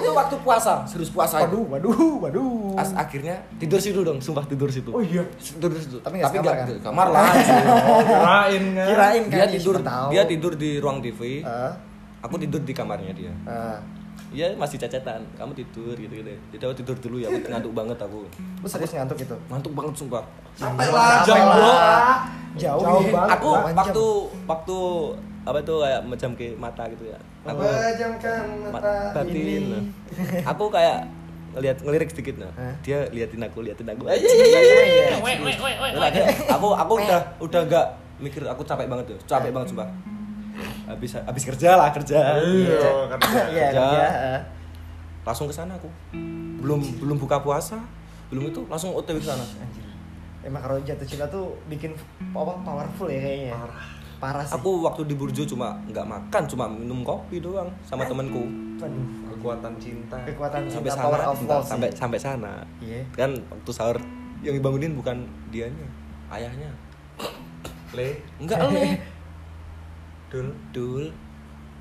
Speaker 4: itu waktu puasa serius puasa
Speaker 1: Waduh, waduh, waduh.
Speaker 4: As akhirnya tidur situ dong, sumpah tidur situ. Oh iya, tidur situ.
Speaker 1: Tapi nggak sekamar kan?
Speaker 4: nggak- kamar lah.
Speaker 2: Kirain kan.
Speaker 1: Kirain kan
Speaker 4: dia tidur,
Speaker 1: siapa tahu. Eh.
Speaker 4: dia tidur di ruang TV.
Speaker 1: Heeh.
Speaker 4: Aku tidur di kamarnya dia.
Speaker 1: Heeh.
Speaker 4: Iya masih cacetan, kamu tidur gitu gitu. Jadi aku tidur dulu ya, aku ngantuk banget aku.
Speaker 1: Lu serius ngantuk gitu?
Speaker 4: Ngantuk banget sumpah.
Speaker 5: capek lah
Speaker 1: Jauh,
Speaker 5: bro
Speaker 1: Jauh,
Speaker 3: Jauh
Speaker 1: nih.
Speaker 3: banget.
Speaker 4: Aku
Speaker 1: Delapan jam.
Speaker 4: waktu waktu apa tuh kayak macam ke mata gitu ya. Aku
Speaker 5: Pejamkan
Speaker 4: ma-
Speaker 5: mata
Speaker 4: batin.
Speaker 5: ini
Speaker 4: Aku kayak ngelihat ngelirik sedikit nah.
Speaker 1: Hah?
Speaker 4: Dia liatin aku, liatin aku.
Speaker 1: Iya,
Speaker 2: Wek, wek, wek, wek,
Speaker 4: Dan
Speaker 2: wek.
Speaker 4: akhirnya aku aku udah udah gak mikir aku capek banget tuh, capek banget sumpah. Habis habis kerja lah kerja.
Speaker 1: Eh.
Speaker 2: Iya,
Speaker 1: Iya,
Speaker 4: Kerja.
Speaker 1: iya, heeh.
Speaker 4: Langsung ke sana aku. Belum belum buka puasa, belum itu langsung OTW ke sana.
Speaker 1: Emang kalau Eh, jatuh cinta tuh bikin apa powerful ya kayaknya. Parah. Parah sih.
Speaker 4: Aku waktu di Burjo cuma nggak makan, cuma minum kopi doang sama temanku.
Speaker 1: Waduh,
Speaker 2: Kekuatan cinta.
Speaker 1: kekuatan
Speaker 4: Sampai
Speaker 1: cinta power
Speaker 4: sana,
Speaker 1: of
Speaker 4: cinta-
Speaker 1: love sih.
Speaker 4: sampai sampai sana.
Speaker 1: Iya.
Speaker 4: Kan waktu sahur yang dibangunin bukan dianya, ayahnya.
Speaker 2: Le,
Speaker 4: Enggak le.
Speaker 2: dul.
Speaker 4: Dul,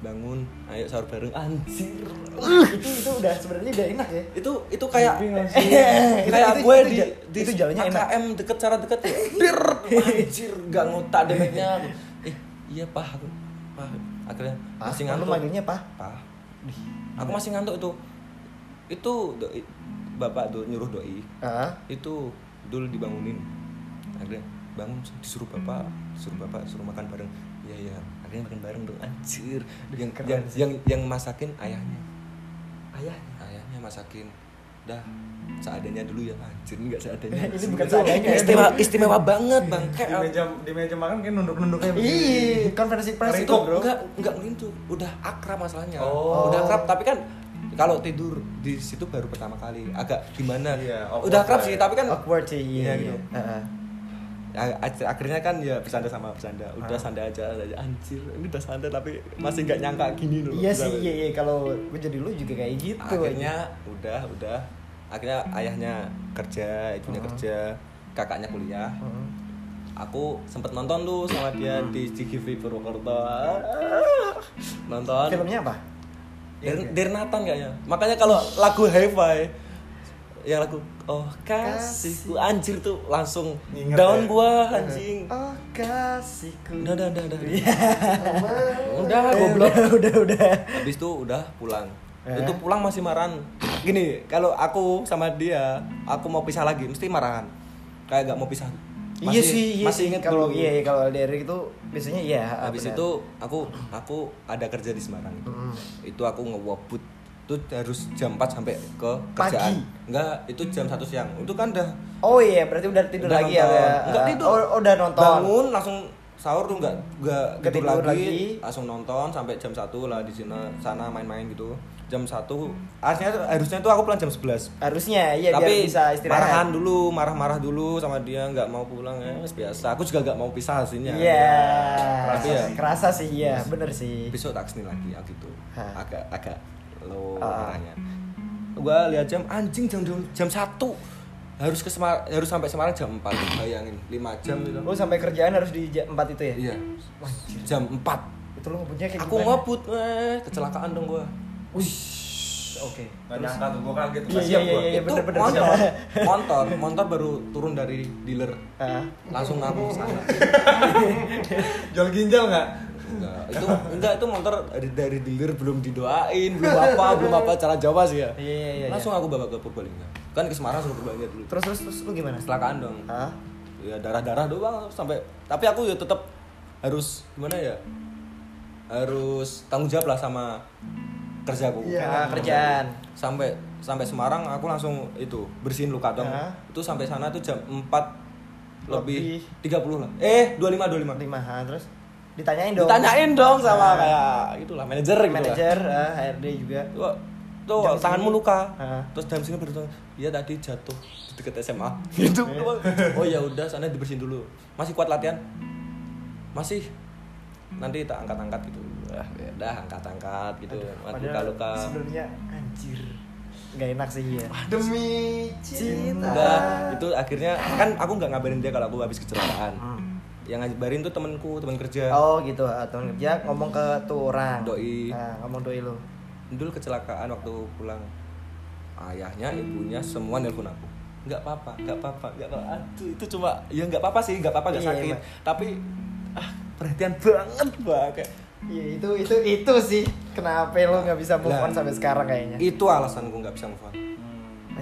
Speaker 4: bangun, ayo sahur bareng anjir.
Speaker 1: itu itu udah sebenarnya udah enak ya.
Speaker 4: Itu itu kayak
Speaker 1: Eh,
Speaker 4: kayak
Speaker 1: itu-
Speaker 4: gue
Speaker 1: itu
Speaker 4: di,
Speaker 1: ja-
Speaker 4: di
Speaker 1: itu jalannya enak.
Speaker 4: AKM deket cara deket ya dir anjir nggak ngotak demeknya aku eh iya pah aku pah akhirnya
Speaker 1: Pah,
Speaker 4: masih
Speaker 1: lu
Speaker 4: ngantuk
Speaker 1: manggilnya pah.
Speaker 4: pah aku masih ngantuk itu itu doi, bapak do, nyuruh doi
Speaker 1: Heeh.
Speaker 4: itu dul dibangunin akhirnya bangun disuruh
Speaker 1: Hmm.
Speaker 4: bapak suruh bapak suruh makan bareng iya iya akhirnya makan bareng dong anjir yang yang,
Speaker 1: ya?
Speaker 4: yang yang masakin ayahnya ayahnya ayahnya masakin dah seadanya dulu ya anjir nggak seadanya
Speaker 1: Ini bukan seadanya.
Speaker 4: istimewa istimewa banget bang
Speaker 2: Di meja di meja makan kayak nunduk-nunduk kayak
Speaker 5: Iya.
Speaker 1: Ih, konferensi pers
Speaker 4: Iya. itu
Speaker 1: itu, Bro.
Speaker 4: enggak enggak ngelintu udah akrab masalahnya
Speaker 2: Oh.
Speaker 4: udah akrab tapi kan kalau tidur di situ baru pertama kali agak gimana
Speaker 2: Iya, awkward
Speaker 4: udah akrab
Speaker 2: lah
Speaker 4: sih
Speaker 2: ya.
Speaker 4: tapi kan
Speaker 1: Awkward sih,
Speaker 4: Iya,
Speaker 1: iya.
Speaker 4: gitu.
Speaker 1: iya. Heeh.
Speaker 4: Ya, ak- akhirnya kan ya bercanda sama bercanda
Speaker 1: Ah.
Speaker 4: udah santai aja santai aja. anjir ini udah santai tapi masih nggak nyangka gini loh
Speaker 1: Hmm. Iya sih,
Speaker 4: Misalnya.
Speaker 1: iya iya kalau gue jadi lu juga kayak gitu.
Speaker 4: akhirnya udah udah akhirnya ayahnya kerja ibunya
Speaker 1: Hmm.
Speaker 4: kerja kakaknya kuliah
Speaker 1: Heeh.
Speaker 4: aku sempet nonton tuh sama dia
Speaker 1: Hmm.
Speaker 4: di CGV Purwokerto nonton
Speaker 1: Filmnya apa? Iya,
Speaker 4: Der, Dernatan kayaknya. Makanya kalau lagu hi-fi yang lagu oh kasihku anjir tuh langsung
Speaker 2: Nginget
Speaker 4: down
Speaker 2: ya?
Speaker 4: gua anjing.
Speaker 1: Oh kasihku.
Speaker 4: Udah udah udah udah.
Speaker 1: Iya.
Speaker 4: udah goblok.
Speaker 1: udah udah.
Speaker 4: Habis itu udah pulang.
Speaker 1: Eh.
Speaker 4: Itu pulang masih marahan. Gini, kalau aku sama dia, aku mau pisah lagi mesti marahan. Kayak gak mau pisah.
Speaker 1: iya sih, iya
Speaker 4: masih
Speaker 1: sih.
Speaker 4: inget
Speaker 1: kalau
Speaker 4: dulu.
Speaker 1: iya iya, kalau dari itu biasanya iya.
Speaker 4: habis
Speaker 1: benar.
Speaker 4: itu aku aku ada kerja di Semarang itu, itu aku ngewabut itu harus jam 4 sampai ke
Speaker 1: Pagi?
Speaker 4: kerjaan enggak itu jam 1 siang itu kan udah
Speaker 1: Oh iya, berarti udah tidur
Speaker 4: udah
Speaker 1: lagi ya.
Speaker 4: nonton.
Speaker 1: Kak?
Speaker 4: enggak
Speaker 1: Ah,
Speaker 4: tidur
Speaker 1: Oh, udah nonton.
Speaker 4: bangun langsung sahur tuh nggak nggak
Speaker 1: Nggak
Speaker 4: tidur
Speaker 1: tidur
Speaker 4: lagi,
Speaker 1: lagi.
Speaker 4: langsung nonton sampai jam 1 lah di sana sana main-main gitu jam 1 harusnya harusnya tuh aku pulang jam 11
Speaker 1: harusnya iya biar
Speaker 4: tapi
Speaker 1: bisa istirahat
Speaker 4: marahan dulu marah-marah dulu sama dia nggak mau pulang ya wes biasa aku juga nggak mau pisah hasilnya
Speaker 1: Iya.
Speaker 4: Tapi ya-
Speaker 1: Kerasa sih iya, bener sih.
Speaker 4: besok tak kesini lagi aku gitu
Speaker 1: Hah.
Speaker 4: agak agak low
Speaker 1: Ah.
Speaker 4: arahnya gua lihat jam anjing jam jam, jam satu harus ke Semar harus sampai Semarang jam 4 bayangin 5 jam gitu
Speaker 1: Lu sampai kerjaan harus di jam 4 itu ya?
Speaker 4: iya jam 4
Speaker 1: Itu lu ngebutnya kayak
Speaker 4: aku
Speaker 1: gimana?
Speaker 4: ngebut eh kecelakaan dong gua
Speaker 1: Oke.
Speaker 2: Gak nyangka tuh, gue kaget tuh,
Speaker 1: Iya,
Speaker 2: siap
Speaker 1: iya, iya,
Speaker 2: gua.
Speaker 1: iya.
Speaker 4: itu
Speaker 1: bener-bener.
Speaker 4: motor motor motor baru turun dari dealer
Speaker 1: Hah?
Speaker 4: langsung ngamuk sana
Speaker 2: Jual ginjal gak?
Speaker 4: enggak itu enggak itu motor dari, dari dealer belum didoain belum apa belum apa cara Jawa sih ya
Speaker 1: Iya, iya, iya.
Speaker 4: langsung aku bawa ke Purbalingga kan ke Semarang suruh Purbalingga dulu
Speaker 1: Terus terus terus lu gimana?
Speaker 4: kecelakaan dong
Speaker 1: Hah?
Speaker 4: ya darah darah doang sampai tapi aku ya tetap harus gimana ya harus tanggung jawab lah sama kerjaku
Speaker 1: Nah, kerjaan.
Speaker 4: sampai sampai Semarang aku langsung itu bersihin luka dong
Speaker 1: Ya.
Speaker 4: itu sampai sana tuh jam 4 lebih, 30 lah eh 25 25
Speaker 1: Lima ha, terus ditanyain dong.
Speaker 4: ditanyain dong
Speaker 1: Ah.
Speaker 4: sama kayak itulah manajer gitu lah.
Speaker 1: manajer, ah, HRD juga.
Speaker 4: Tuh, tuh
Speaker 1: Jam
Speaker 4: tanganmu
Speaker 1: segini.
Speaker 4: luka.
Speaker 1: Heeh.
Speaker 4: Terus jam segini baru tahu, iya tadi jatuh di deket SMA. Gitu. doang. oh ya udah, sana dibersihin dulu. Masih kuat latihan? Masih. Nanti tak angkat-angkat gitu. Ah, ya udah angkat-angkat gitu.
Speaker 1: Padahal
Speaker 4: Luka-luka.
Speaker 1: Sebelumnya anjir. Gak enak sih ya.
Speaker 5: Demi cinta.
Speaker 1: Ah.
Speaker 4: Udah, itu akhirnya kan aku nggak ngabarin dia kalau aku habis kecelakaan. Yang ngabarin tuh temanku, teman kerja.
Speaker 1: Oh gitu, ah, teman kerja ngomong ke tuh orang.
Speaker 4: Doi.
Speaker 1: Nah, ngomong doi lu.
Speaker 4: Dul kecelakaan waktu pulang ayahnya, ibunya semua nelpon aku. Nggak apa-apa, nggak apa-apa, nggak apa-apa. Aduh, itu cuma ya nggak apa-apa sih, nggak apa-apa nggak
Speaker 1: Iya,
Speaker 4: sakit.
Speaker 1: Mbak.
Speaker 4: Tapi ah, perhatian banget banget.
Speaker 1: Iya itu itu itu sih kenapa lu nggak bisa move on
Speaker 4: Lah.
Speaker 1: sampai sekarang kayaknya.
Speaker 4: Itu alasan gue nggak bisa move on.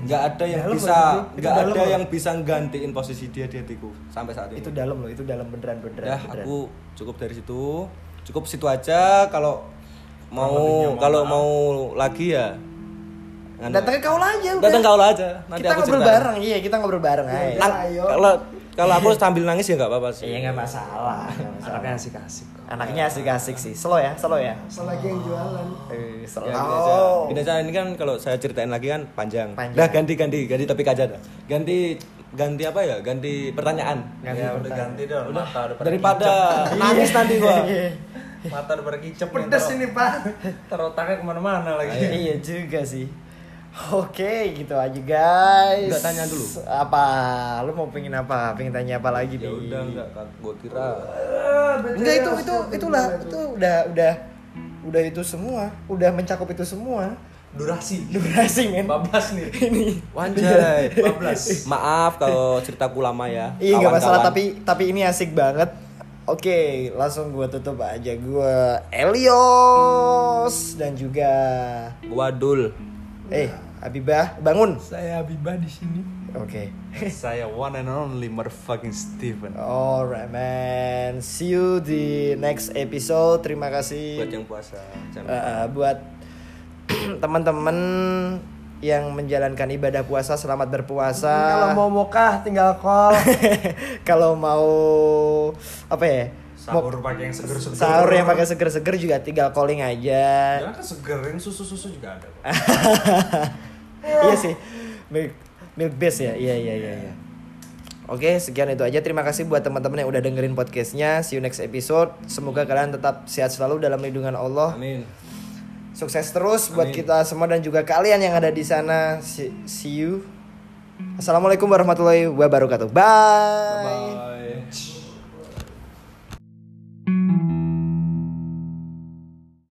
Speaker 4: Nggak ada yang
Speaker 1: Hmm. Dalam
Speaker 4: bisa,
Speaker 1: loh, itu
Speaker 4: nggak
Speaker 1: dalam
Speaker 4: ada
Speaker 1: loh.
Speaker 4: yang bisa gantiin posisi dia di hatiku sampai saat ini.
Speaker 1: itu dalam loh itu dalam beneran beneran
Speaker 4: Udah,
Speaker 1: beneran.
Speaker 4: aku cukup dari situ. Cukup situ aja kalau mau kalau mau lagi ya nganu.
Speaker 1: datang ke kau aja udah
Speaker 4: datang kau aja nanti
Speaker 1: kita
Speaker 4: aku
Speaker 1: ngobrol
Speaker 4: ceritain.
Speaker 1: bareng iya kita ngobrol bareng aja
Speaker 4: Nang- kalau kalau aku sambil nangis ya nggak apa-apa sih
Speaker 1: iya nggak masalah nggak masalah.
Speaker 3: Anaknya asik-asik kok.
Speaker 1: anaknya asik asik sih Iya. slow ya slow ya
Speaker 5: Apalagi yang jualan.
Speaker 1: eh slow
Speaker 4: Ya, gini aja. Gini aja, ini kan kalau saya ceritain lagi kan panjang.
Speaker 1: Panjang.
Speaker 4: Nah, ganti ganti ganti topik aja dah. Ganti ganti apa ya? Ganti pertanyaan.
Speaker 1: Ganti
Speaker 2: Ya udah
Speaker 1: pertanyaan.
Speaker 2: ganti deh, mata udah pada
Speaker 4: Daripada nangis nanti gua.
Speaker 1: Iya.
Speaker 2: kicep. Mata udah pada kicep nih,
Speaker 5: Pedes
Speaker 2: ntar-
Speaker 5: ini pak.
Speaker 2: ntar otaknya kemana-mana lagi
Speaker 1: iya juga sih Oke, gitu aja guys.
Speaker 4: Nggak tanya dulu.
Speaker 1: Apa? Lu mau pengen apa? Pengen tanya apa lagi
Speaker 4: Ya
Speaker 1: Bi?
Speaker 4: udah enggak gua kira.
Speaker 5: Ah,
Speaker 1: Enggak itu itu itulah itu udah udah udah itu semua, udah mencakup itu semua.
Speaker 2: Durasi
Speaker 1: Durasi men.
Speaker 2: Bablas nih
Speaker 1: Ini.
Speaker 4: Wanjay.
Speaker 2: 15.
Speaker 4: Maaf kalau ceritaku lama ya.
Speaker 1: Iya nggak masalah
Speaker 4: kawan-kawan.
Speaker 1: tapi tapi ini asik banget. Oke, langsung gua tutup aja gua Elios dan juga
Speaker 4: gua dul.
Speaker 1: eh Habibah bangun.
Speaker 2: Saya Habibah di sini.
Speaker 1: Oke.
Speaker 2: Saya one and only motherfucking Steven.
Speaker 1: Alright man, see you di next episode. Terima kasih.
Speaker 4: Buat yang puasa. jangan
Speaker 1: Eh, eh, buat teman-teman yang menjalankan ibadah puasa selamat berpuasa
Speaker 3: Hmm, Kalau mau mokah tinggal call.
Speaker 1: kalau mau apa ya mau
Speaker 2: Sahur pakai yang seger-seger.
Speaker 1: sahur yang pakai seger-seger juga tinggal calling
Speaker 4: Ya.
Speaker 1: aja
Speaker 2: Jangan kesegerin kan susu-susu juga ada.
Speaker 1: Eh.
Speaker 2: kok.
Speaker 1: iya sih milk milk base ya iya iya iya iya. Oke, sekian itu aja. Terima kasih buat teman-teman yang udah dengerin podcastnya. See you next episode. Semoga kalian tetap sehat selalu dalam lindungan Allah.
Speaker 4: Amin.
Speaker 1: Sukses terus buat
Speaker 4: Amin.
Speaker 1: kita semua dan juga kalian yang ada di sana. See, see you. Assalamualaikum warahmatullahi wabarakatuh. Bye.
Speaker 4: Bye.